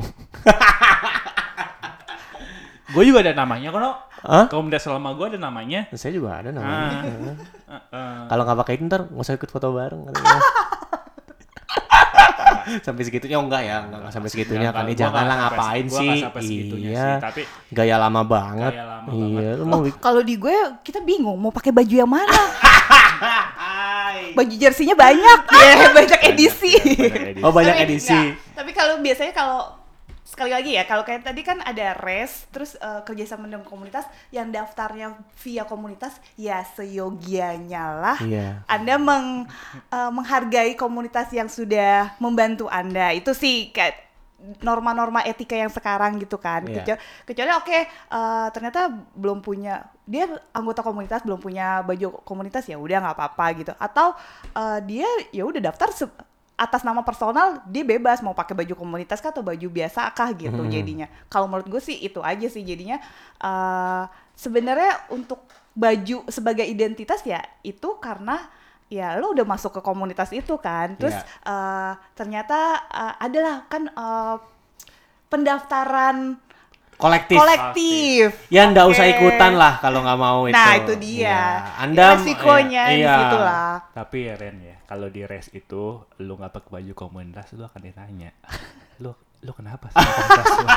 S2: Gue juga ada namanya kalau
S1: Hah?
S2: komunitas selama gue ada namanya.
S1: Saya juga ada namanya.
S2: Ah, eh, eh.
S1: Kalau nggak pakai itu ntar nggak usah ikut foto bareng. katanya. sampai segitunya oh, enggak ya, enggak, enggak sampai segitunya
S2: Enggak,
S1: kali.
S2: gua
S1: Janganlah
S2: nggak sampai-
S1: ngapain
S2: gua
S1: sih.
S2: nggak sampai segitunya
S1: Iya.
S2: sih, tapi-
S1: gaya lama banget.
S2: Gaya lama
S1: iya,
S2: banget.
S1: lu mau
S3: kalau di gue kita bingung mau pakai baju yang mana baju jersinya banyak ya banyak edisi
S2: Banyak edit.
S1: Oh, banyak
S3: Tapi
S1: edisi.
S3: enggak. Tapi kalau biasanya kalau sekali lagi ya kalau kayak tadi kan ada race terus eh, kerjasama dengan komunitas yang daftarnya via komunitas ya seyogianya lah
S1: Iya.
S3: anda meng- eh, menghargai komunitas yang sudah membantu anda itu sih kayak norma-norma etika yang sekarang gitu kan
S1: Iya.
S3: Kecuali- kecuali oke eh, ternyata belum punya dia anggota komunitas belum punya baju komunitas ya udah nggak apa-apa gitu atau eh, dia ya udah daftar se- atas nama personal dia bebas mau pakai baju komunitas kah atau baju biasa kah gitu jadinya kalau menurut gue sih itu aja sih jadinya eh, sebenarnya untuk baju sebagai identitas ya itu karena ya lo udah masuk ke komunitas itu kan terus
S1: Iya.
S3: eh, ternyata eh, adalah kan eh, pendaftaran
S1: Kolektif.
S3: kolektif.
S1: Ya ndak usah
S3: Oke.
S1: ikutan lah kalau nggak mau itu.
S3: Nah, itu dia.
S1: Iya. Anda
S3: resikonya
S1: iya.
S3: di situ lah.
S2: Tapi ya Ren ya, kalau di race itu lu nggak pakai baju komunitas lu akan ditanya. lu lu kenapa sih komunitas lu?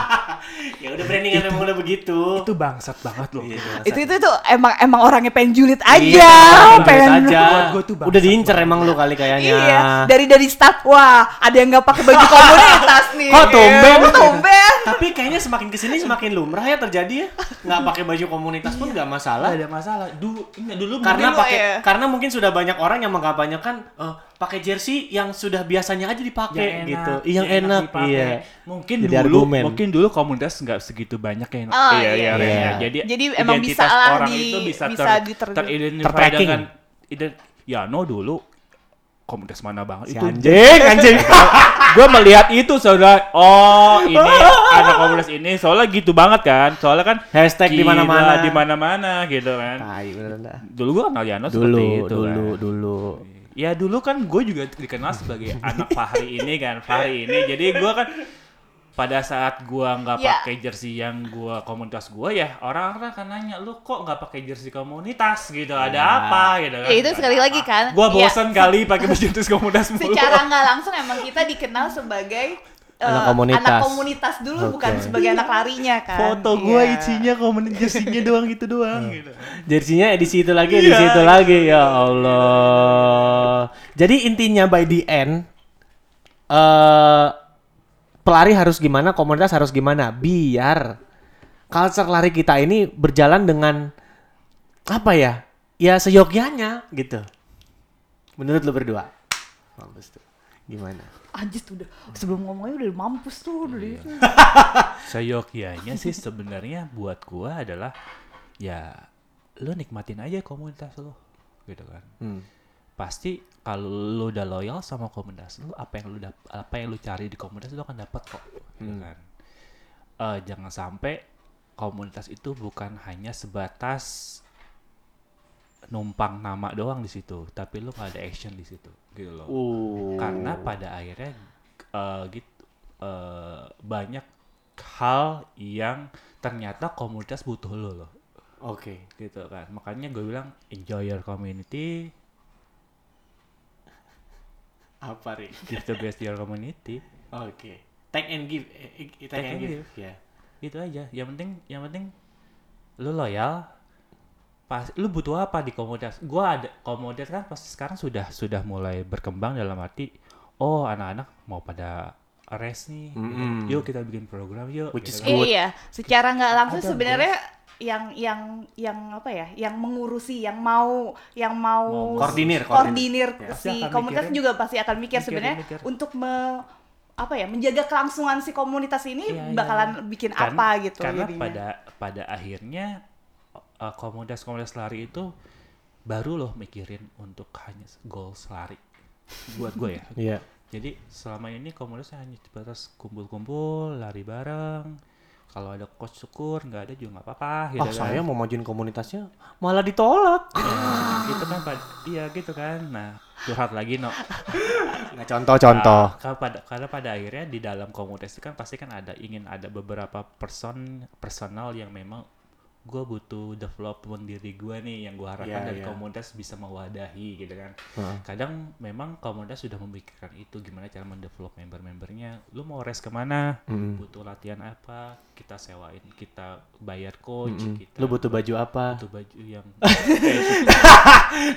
S1: Ya udah brandingan memang udah begitu.
S2: Itu bangsat banget lu.
S3: Itu itu tuh emang emang orangnya pengen julid aja,
S1: Iya,
S3: pengen
S1: pengen aja.
S2: Gua tuh bangsat
S1: Udah diincer emang lu kali kayaknya.
S3: Iya, dari dari start wah, ada yang nggak pakai baju komunitas nih.
S1: Kok tumben?
S3: Kok tumben?
S1: Tapi kayaknya semakin kesini semakin lumrah ya terjadi ya. Nggak pakai baju komunitas pun nggak masalah.
S2: Iya. Nggak ada masalah. Dulu ingat dulu
S1: karena
S3: Mungkin lo
S1: pakai
S3: ya.
S1: karena mungkin sudah banyak orang yang mengkampanyekan eh, pakai jersey yang sudah biasanya aja dipakai gitu Ih, yang, enak,
S2: dipakai.
S1: iya
S2: mungkin
S1: Jadi
S2: dulu
S1: argumen.
S2: mungkin dulu komunitas nggak segitu banyak yang
S3: Oh, iya,
S2: Ren,
S1: iya.
S2: ya. jadi
S3: Jadi emang
S2: identitas
S3: bisa lah
S2: orang
S3: di-
S2: itu bisa,
S3: bisa
S2: ter,
S3: diter-
S2: teridentifikasi
S1: Tertracking.
S2: dengan ident- ya no dulu komunitas mana banget
S1: Si
S2: itu
S1: anjing anjing
S2: gue melihat itu saudara oh ini anak komunitas ini soalnya gitu banget kan soalnya kan
S1: Hashtag di
S2: gila,
S1: mana-mana.
S2: di mana-mana gitu kan
S1: Tai, bener dah.
S2: dulu gue kenal Yano seperti
S1: dulu
S2: itu
S1: dulu
S2: kan.
S1: dulu
S2: ya dulu kan gue juga dikenal sebagai anak Fahri ini kan Fahri ini jadi gue kan pada saat gue nggak
S3: Ya.
S2: pakai jersey yang gue komunitas gue ya orang-orang akan nanya lu kok nggak pakai jersey komunitas gitu ada apa gitu kan
S3: Ya itu sekali lagi kan.
S2: gue
S3: Iya.
S2: bosan kali pakai baju jersey komunitas mulu
S3: Secara nggak langsung emang kita dikenal sebagai eh,
S1: Anak komunitas.
S3: anak komunitas dulu bukan
S1: Oke.
S3: sebagai anak larinya kan.
S2: foto gue
S3: Iya.
S2: isinya komunitas jersey-nya doang gitu doang gitu
S1: jersinya edisi itu lagi edisi
S2: Iya.
S1: itu lagi ya Allah jadi intinya by the end eh pelari harus gimana komunitas harus gimana biar culture lari kita ini berjalan dengan apa ya ya seyogyanya gitu menurut lu berdua mampus tuh gimana
S3: Anjir udah sebelum ngomongnya udah mampus tuh udah
S1: Iya.
S3: di-
S2: seyogianya sih sebenarnya buat gua adalah ya lu nikmatin aja komunitas lu gitu kan
S1: Hmm.
S2: pasti kalau lu udah loyal sama komunitas lu apa yang lu dap- apa yang lu cari di komunitas lu akan dapat kok gitu kan Eh, jangan sampai komunitas itu bukan hanya sebatas numpang nama doang di situ tapi lu nggak ada action di situ gitu loh
S1: Oh. Uh.
S2: karena pada akhirnya eh, gitu eh, banyak hal yang ternyata komunitas butuh lo loh
S1: oke
S2: gitu kan makanya gue bilang enjoy your community
S1: apa Rik?
S2: give the best to your community
S1: oke take and give eh, eh, take, and give, ya
S2: gitu aja yang penting yang penting lu loyal pas lu butuh apa di komunitas gua ada komunitas kan pasti sekarang sudah sudah mulai berkembang dalam arti oh anak-anak mau pada race nih yuk kita bikin program yuk
S1: Which is
S2: gitu kan.
S3: Iya,
S1: Good.
S3: iya. secara nggak langsung sebenarnya yang yang yang apa ya, yang mengurusi, yang mau yang mau
S2: Mau
S1: Koordinir,
S3: koordinir,
S2: Ya. Pasti
S3: si
S2: akan
S3: komunitas
S2: mikirin.
S3: juga pasti akan mikir
S2: Mikirin,
S3: sebenarnya
S2: mikir.
S3: untuk me- apa ya, menjaga kelangsungan si komunitas ini
S2: Iya, iya,
S3: bakalan
S2: iya.
S3: bikin
S2: Karena-
S3: apa gitu
S2: karena
S3: jadinya.
S2: pada pada akhirnya uh, komunitas-komunitas lari itu baru loh mikirin untuk hanya goals lari buat gue ya
S1: iya
S2: jadi selama ini komunitas hanya sebatas kumpul-kumpul lari bareng kalau ada coach syukur nggak ada juga nggak apa-apa gitu
S1: ah
S2: kan.
S1: saya mau majuin komunitasnya malah ditolak
S2: Nah, gitu kan pad- iya gitu kan nah curhat lagi no
S4: Nah,
S1: nggak contoh contoh
S2: Ah, karena pada karena pada akhirnya di dalam komunitas itu kan pasti kan ada ingin ada beberapa person personal yang memang gue butuh development diri gue nih yang gue harapkan
S1: Iya,
S2: dari
S1: iya.
S2: komunitas bisa mewadahi gitu kan kadang memang komunitas sudah memikirkan itu gimana cara mendevelop member-membernya lu mau res kemana
S4: Ah. Mm.
S1: Hmm.
S2: butuh latihan apa kita sewain kita bayar coach kita
S1: lu butuh baju apa
S2: butuh baju yang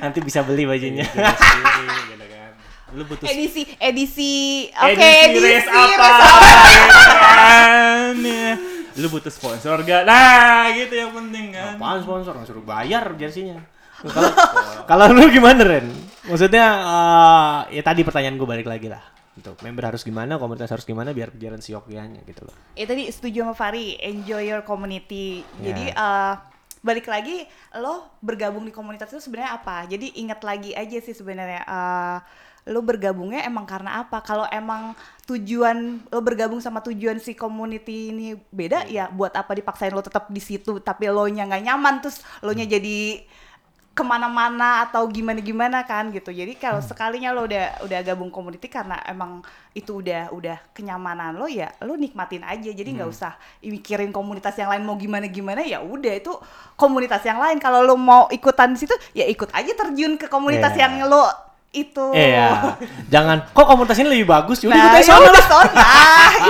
S1: nanti bisa beli bajunya
S2: Iya, gitu kan. Lu butuh
S3: edisi edisi oke
S2: edisi race apa? ya Kan, ya. Lu butuh sponsor gak? Nah, gitu yang penting kan.
S4: iya. Apaan sponsor? Nggak suruh bayar jersinya. Kalau- Kalau lu gimana Ren? Maksudnya eh, ya tadi pertanyaan gue balik lagi lah. Untuk member harus gimana, komunitas harus gimana biar berjalan seyogyanya gitu loh.
S3: ya tadi setuju sama Fari enjoy your community jadi eh, balik lagi lo bergabung di komunitas itu sebenarnya apa jadi ingat lagi aja sih sebenarnya eh, lo bergabungnya emang karena apa kalau emang tujuan lo bergabung sama tujuan si community ini beda ya buat apa dipaksain lo tetap di situ tapi lo nya nggak nyaman terus lo nya jadi kemana-mana atau gimana-gimana kan gitu jadi kalau sekalinya lo udah udah gabung community karena emang itu udah udah kenyamanan lo ya lo nikmatin aja jadi nggak usah mikirin komunitas yang lain mau gimana gimana ya udah itu komunitas yang lain kalau lo mau ikutan di situ ya ikut aja terjun ke komunitas
S4: Iya.
S3: yang lo itu
S4: Eh ya,
S1: Iya.
S4: jangan kok komunitas ini lebih bagus, yaudah ikut
S3: nah
S4: aja
S3: ya
S4: sono
S3: lo
S4: dah.
S3: sona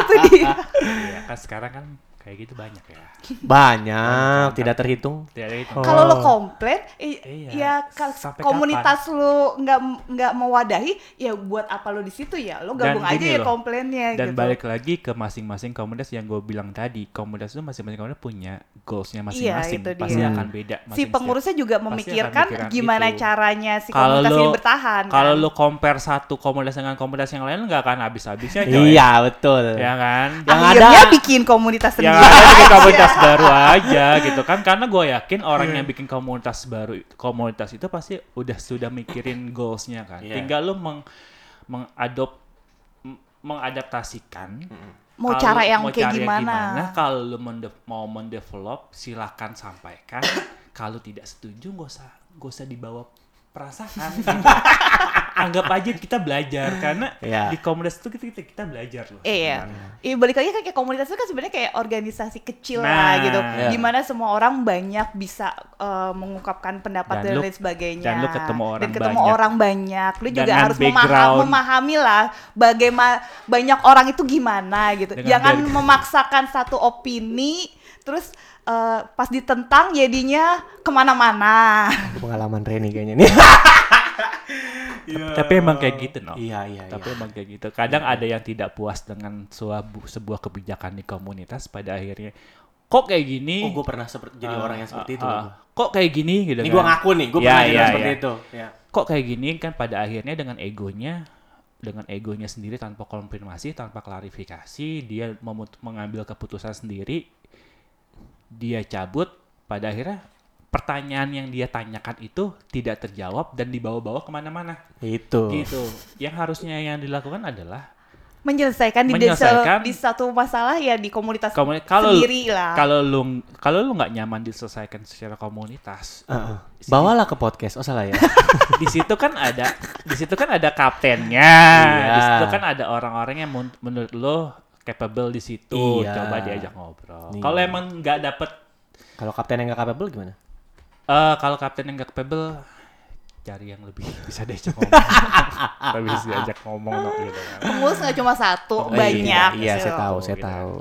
S3: itu gitu dia
S2: Iya, kan sekarang kan kayak gitu banyak ya. gitu.
S4: Banyak, tidak terhitung.
S2: Tidak ada itu.
S3: kalau lo komplain i-
S2: Oh. Iya,
S3: ya ka-
S2: sampai
S3: komunitas lo nggak nggak mewadahi ya buat apa lo di situ ya lo
S2: Dan
S3: gabung aja
S2: gini
S3: ya
S2: loh,
S3: komplainnya
S2: Dan
S3: gitu
S2: balik lagi ke masing-masing komunitas yang gue bilang tadi, komunitas itu masing-masing komunitas punya goalsnya masing-masing,
S3: Iya, itu dia.
S2: pasti
S4: Hmm.
S2: akan beda.
S3: si
S2: masing-masing.
S3: pengurusnya juga
S2: akan
S3: memikirkan
S2: mikiran
S3: gimana
S2: itu.
S3: caranya si
S2: Kalau
S3: komunitas ini
S2: lo-
S3: bertahan
S2: Kalau
S3: kan.
S2: lu compare satu komunitas dengan komunitas yang lain nggak akan habis-habisnya coy.
S4: Iya betul.
S2: Ya kan?
S4: yang
S3: akhirnya
S4: ada-
S3: bikin komunitas sendiri
S2: yang Ya, ada bikin komunitas baru aja gitu kan karena gue yakin orang
S3: Iya.
S2: yang bikin komunitas baru komunitas itu pasti udah sudah mikirin goalsnya kan
S4: Iya.
S2: tinggal lu meng mengadop m- mengadaptasikan
S3: Mau
S2: Kalau-
S3: cara yang kayak
S2: cara
S3: gimana.
S2: kalau lu mende- mau mendevelop silakan sampaikan kalau tidak setuju gak usah gak usah dibawa perasaan gitu. anggap aja kita belajar karena
S4: Iya.
S2: di komunitas itu kita, kita, kita belajar loh
S3: Iya.
S2: sebenarnya.
S3: Iya balik lagi kan kayak komunitas itu kan sebenarnya kayak organisasi kecil lah
S2: Nah,
S3: gitu.
S2: iya.
S3: Gimana semua orang banyak bisa eh, mengungkapkan pendapat
S2: Dan
S3: dan,
S2: lu-
S3: lain sebagainya.
S2: dan lu ketemu orang
S3: Dan ketemu
S2: banyak.
S3: orang banyak. Lu juga
S2: Dengan
S3: harus memaha-
S2: background.
S3: memahami lah bagaimana banyak orang itu gimana gitu.
S2: Dengan
S3: Jangan
S2: background.
S3: memaksakan satu opini terus eh, pas ditentang jadinya kemana-mana.
S4: Pengalaman Reni kayaknya nih.
S2: tapi emang kayak gitu no
S4: Iya iya.
S2: tapi emang kayak gitu kadang ada yang tidak puas dengan sebuah sebuah kebijakan di komunitas pada akhirnya kok kayak gini
S4: Oh, gue pernah seperti jadi orang yang seperti itu.
S2: Ah, ah. kok kayak gini gitu
S4: Ini
S2: kan.
S4: gue ngaku nih, gue
S1: Iya,
S2: Ya,
S4: pernah jadi
S2: ya,
S4: orang seperti
S2: ya.
S4: itu. Ya.
S2: kok kayak gini kan pada akhirnya dengan egonya dengan egonya sendiri tanpa konfirmasi tanpa klarifikasi dia memut- mengambil keputusan sendiri dia cabut pada akhirnya pertanyaan yang dia tanyakan itu tidak terjawab dan dibawa-bawa kemana-mana
S4: Itu.
S2: gitu yang harusnya yang dilakukan adalah
S3: Menyelesaikan, di-
S2: Menyelesaikan.
S3: di, satu masalah ya di komunitas
S2: Komuni- kalau lu-
S3: sendiri lah.
S2: kalau lu kalau lu nggak nyaman diselesaikan secara komunitas
S4: Heeh. Bawalah ke podcast, oh salah ya.
S2: di situ kan ada di situ kan ada kaptennya di
S4: Iya.
S2: situ kan ada orang-orang yang mun- menurut lo capable di situ
S4: Iya.
S2: coba diajak ngobrol
S4: Iya.
S2: kalau emang nggak dapet
S4: Kalau kapten yang gak capable gimana?
S2: eh kalau kapten yang nggak capable cari yang lebih bisa diajak ngomong lebih bisa diajak ngomong no, gitu kan.
S3: Pengurus nggak cuma satu,
S2: Pengurus
S3: banyak.
S4: Iya,
S3: gitu.
S4: saya tahu, saya
S2: Gitu kan.
S4: tahu.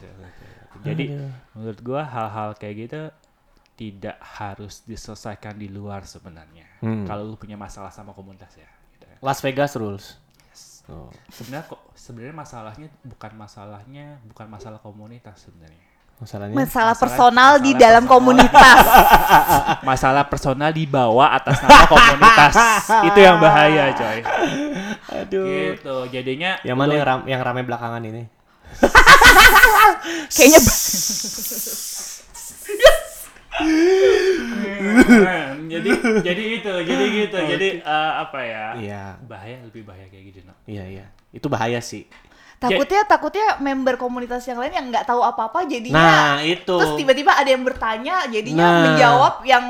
S2: jadi menurut gua hal-hal kayak gitu tidak harus diselesaikan di luar sebenarnya
S4: Hmm.
S2: kalau lu punya masalah sama komunitas ya gitu ya.
S4: Las Vegas rules. Oh.
S2: sebenarnya kok sebenarnya masalahnya bukan masalahnya bukan masalah komunitas sebenarnya
S1: Oh,
S4: Masalahnya
S3: masalah
S2: Masalah-
S3: personal di
S2: masalah
S3: dalam
S2: personal.
S3: komunitas.
S2: masalah personal dibawa atas nama komunitas itu yang bahaya coy
S4: Aduh.
S2: gitu jadinya
S4: Yang Ya, mana yang, ram- yang rame belakangan ini?
S3: Kayaknya
S4: Ya.
S3: ba-
S2: jadi jadi itu jadi gitu jadi eh, apa ya
S4: Iya.
S2: bahaya lebih bahaya kayak gitu no.
S4: Iya, iya. Itu bahaya sih.
S3: takutnya takutnya member komunitas yang lain yang nggak tahu apa-apa
S4: Nah,
S3: jadinya
S4: itu.
S3: terus tiba-tiba ada yang bertanya jadinya
S4: Nah.
S3: menjawab yang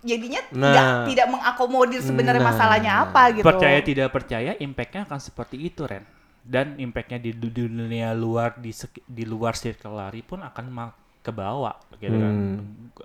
S3: jadinya nggak
S4: Nah.
S3: tidak mengakomodir sebenarnya
S4: Nah.
S3: masalahnya apa gitu.
S2: percaya tidak percaya impactnya akan seperti itu Ren dan impactnya di du- dunia luar di sek-
S1: Hmm.
S2: di luar circle lari pun akan ma- kebawa gitu kan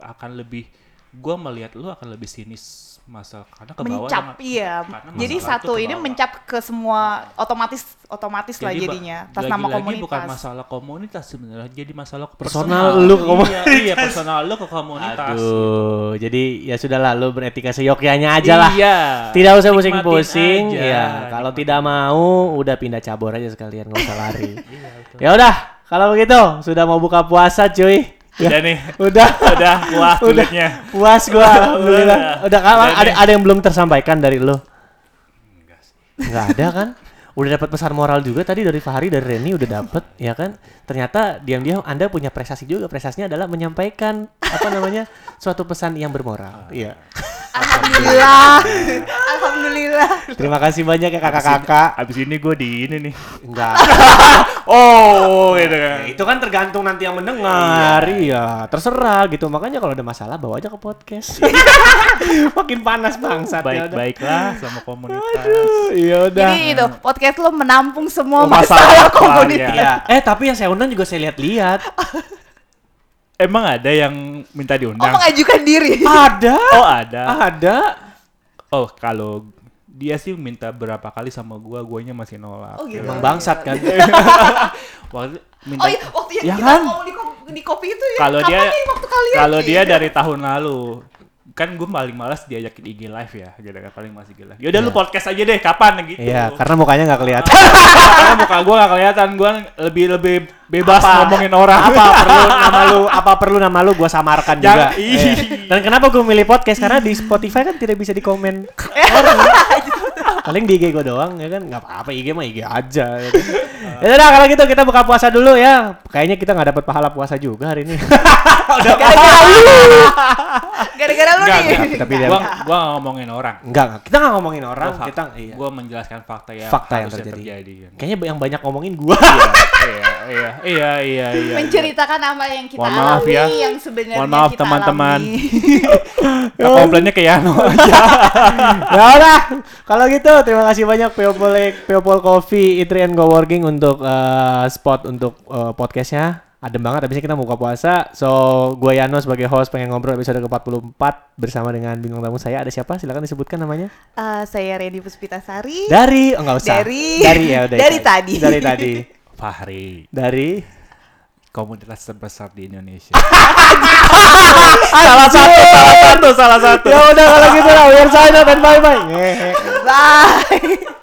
S2: akan lebih gue melihat lu akan lebih sinis masalah karena ke bawah
S3: mencap
S2: sama-
S3: iya
S2: karena
S3: jadi
S2: masalah
S3: satu
S2: tuh ke
S3: ini
S2: bawah.
S3: mencap ke semua otomatis otomatis lah
S2: ba-
S3: jadinya atas nama
S2: lagi-lagi
S3: komunitas
S2: bukan masalah komunitas sebenarnya jadi masalah ke
S1: Personal lu ke
S2: komunitas iya, iya, personal lu ke komunitas
S1: Aduh, jadi ya sudahlah lu beretika seyogyanya aja lah.
S2: iya
S1: Tidak usah
S2: Nikmatin
S1: pusing-pusing.
S2: aja.
S1: Ya, kalau tidak mau udah pindah cabur aja sekalian nggak usah lari.
S4: Iya,
S1: ya udah, kalau begitu sudah mau buka puasa cuy.
S4: Iya.
S1: Ya,
S2: udah nih
S1: udah.
S2: udah wah
S1: Udah.
S2: kulitnya
S1: Puas gua alhamdulillah. Udah kalau
S2: Udah
S1: ada
S2: nih.
S1: ada yang belum tersampaikan dari lu? Enggak ada kan? Udah dapat pesan moral juga tadi dari Fahri dari Reni udah dapet ya kan? Ternyata diam-diam Anda punya prestasi juga. Prestasinya adalah menyampaikan apa namanya? suatu pesan yang bermoral.
S2: Ah.
S1: Iya.
S3: alhamdulillah alhamdulillah
S1: Terima kasih banyak ya kakak-kakak.
S2: abis ini gue di ini nih
S1: Enggak.
S2: oh gitu kan
S1: Itu kan tergantung nanti yang mendengar. Iya, terserah gitu. Makanya kalau ada masalah bawa aja ke podcast. Makin panas bangsat ya udah.
S2: baik-baiklah sama komunitas
S1: Aduh, ya udah.
S3: jadi itu podcast lo menampung
S2: Oh,
S3: semua
S2: masalah
S3: masalah, komunitas
S2: keluarga.
S1: Iya. Eh tapi yang saya undang juga saya lihat-lihat.
S2: emang ada yang minta
S3: oh
S2: diundang
S3: mengajukan diri
S1: Ada.
S2: oh ada
S1: Ada.
S2: oh kalau dia sih minta berapa kali sama gua, guanya masih nolak.
S3: Oh, gitu.
S1: Emang bangsat kan.
S2: Waktu minta
S3: oh iya waktu yang
S1: Ya
S3: kita
S1: kan?
S3: ngomong di, ko- di kopi itu ya
S2: kalau
S3: kapan
S2: dia
S3: nih waktu kalian
S2: kalau
S3: nih?
S2: dia dari tahun lalu kan gue paling malas diajakin IG live ya gitu kan paling masih IG live yaudah lu podcast aja deh kapan gitu
S1: Iya, karena mukanya nggak kelihatan.
S2: Karena muka gue gak kelihatan gue lebih lebih bebas ngomongin orang
S1: apa perlu nama lu apa perlu nama lu gua samarkan juga.
S2: Jangan- Ih.
S1: Iya. Dan kenapa gua milih podcast karena di Spotify kan tidak bisa dikomen orang. Paling di IG gua doang ya kan nggak apa-apa IG mah IG aja. Ya kan. Ya udah kalau gitu kita buka puasa dulu ya. Kayaknya kita nggak dapat pahala puasa juga hari ini.
S3: gara-gara lu Ah, gara-gara lu nih
S1: tapi dia-
S2: gue gue ngomongin orang
S1: Enggak, enggak. kita nggak ngomongin orang, kita iya.
S2: gue menjelaskan fakta yang
S1: Fakta yang
S2: harusnya
S1: terjadi.
S2: kan.
S1: Kayaknya yang banyak ngomongin gua.
S2: iya iya iya iya iya
S3: menceritakan apa yang kita
S2: Mohon maaf
S3: alami
S2: ya.
S3: yang sebenarnya
S2: Mohon maaf,
S3: kita
S2: teman-teman.
S3: alami.
S2: Nah, komplainnya ke Yano
S1: ya udah kalau gitu terima kasih banyak Peopol Peopol Coffee Eatery and Coworking untuk eh, spot untuk eh, podcastnya adem banget habisnya kita mau buka puasa so gue Yano sebagai host pengen ngobrol episode ke-44 bersama dengan bintang tamu saya ada siapa silakan disebutkan namanya
S3: Eh, saya Reni Puspitasari
S1: dari oh, enggak usah
S3: Dari-
S1: dari ya udah
S3: dari
S1: itu aja.
S3: tadi.
S1: dari tadi
S2: Fahri
S1: dari
S2: komunitas terbesar di Indonesia
S1: Ah, salah satu salah satu salah satu ya udah kalau gitu lah we are sign out and bye bye
S3: bye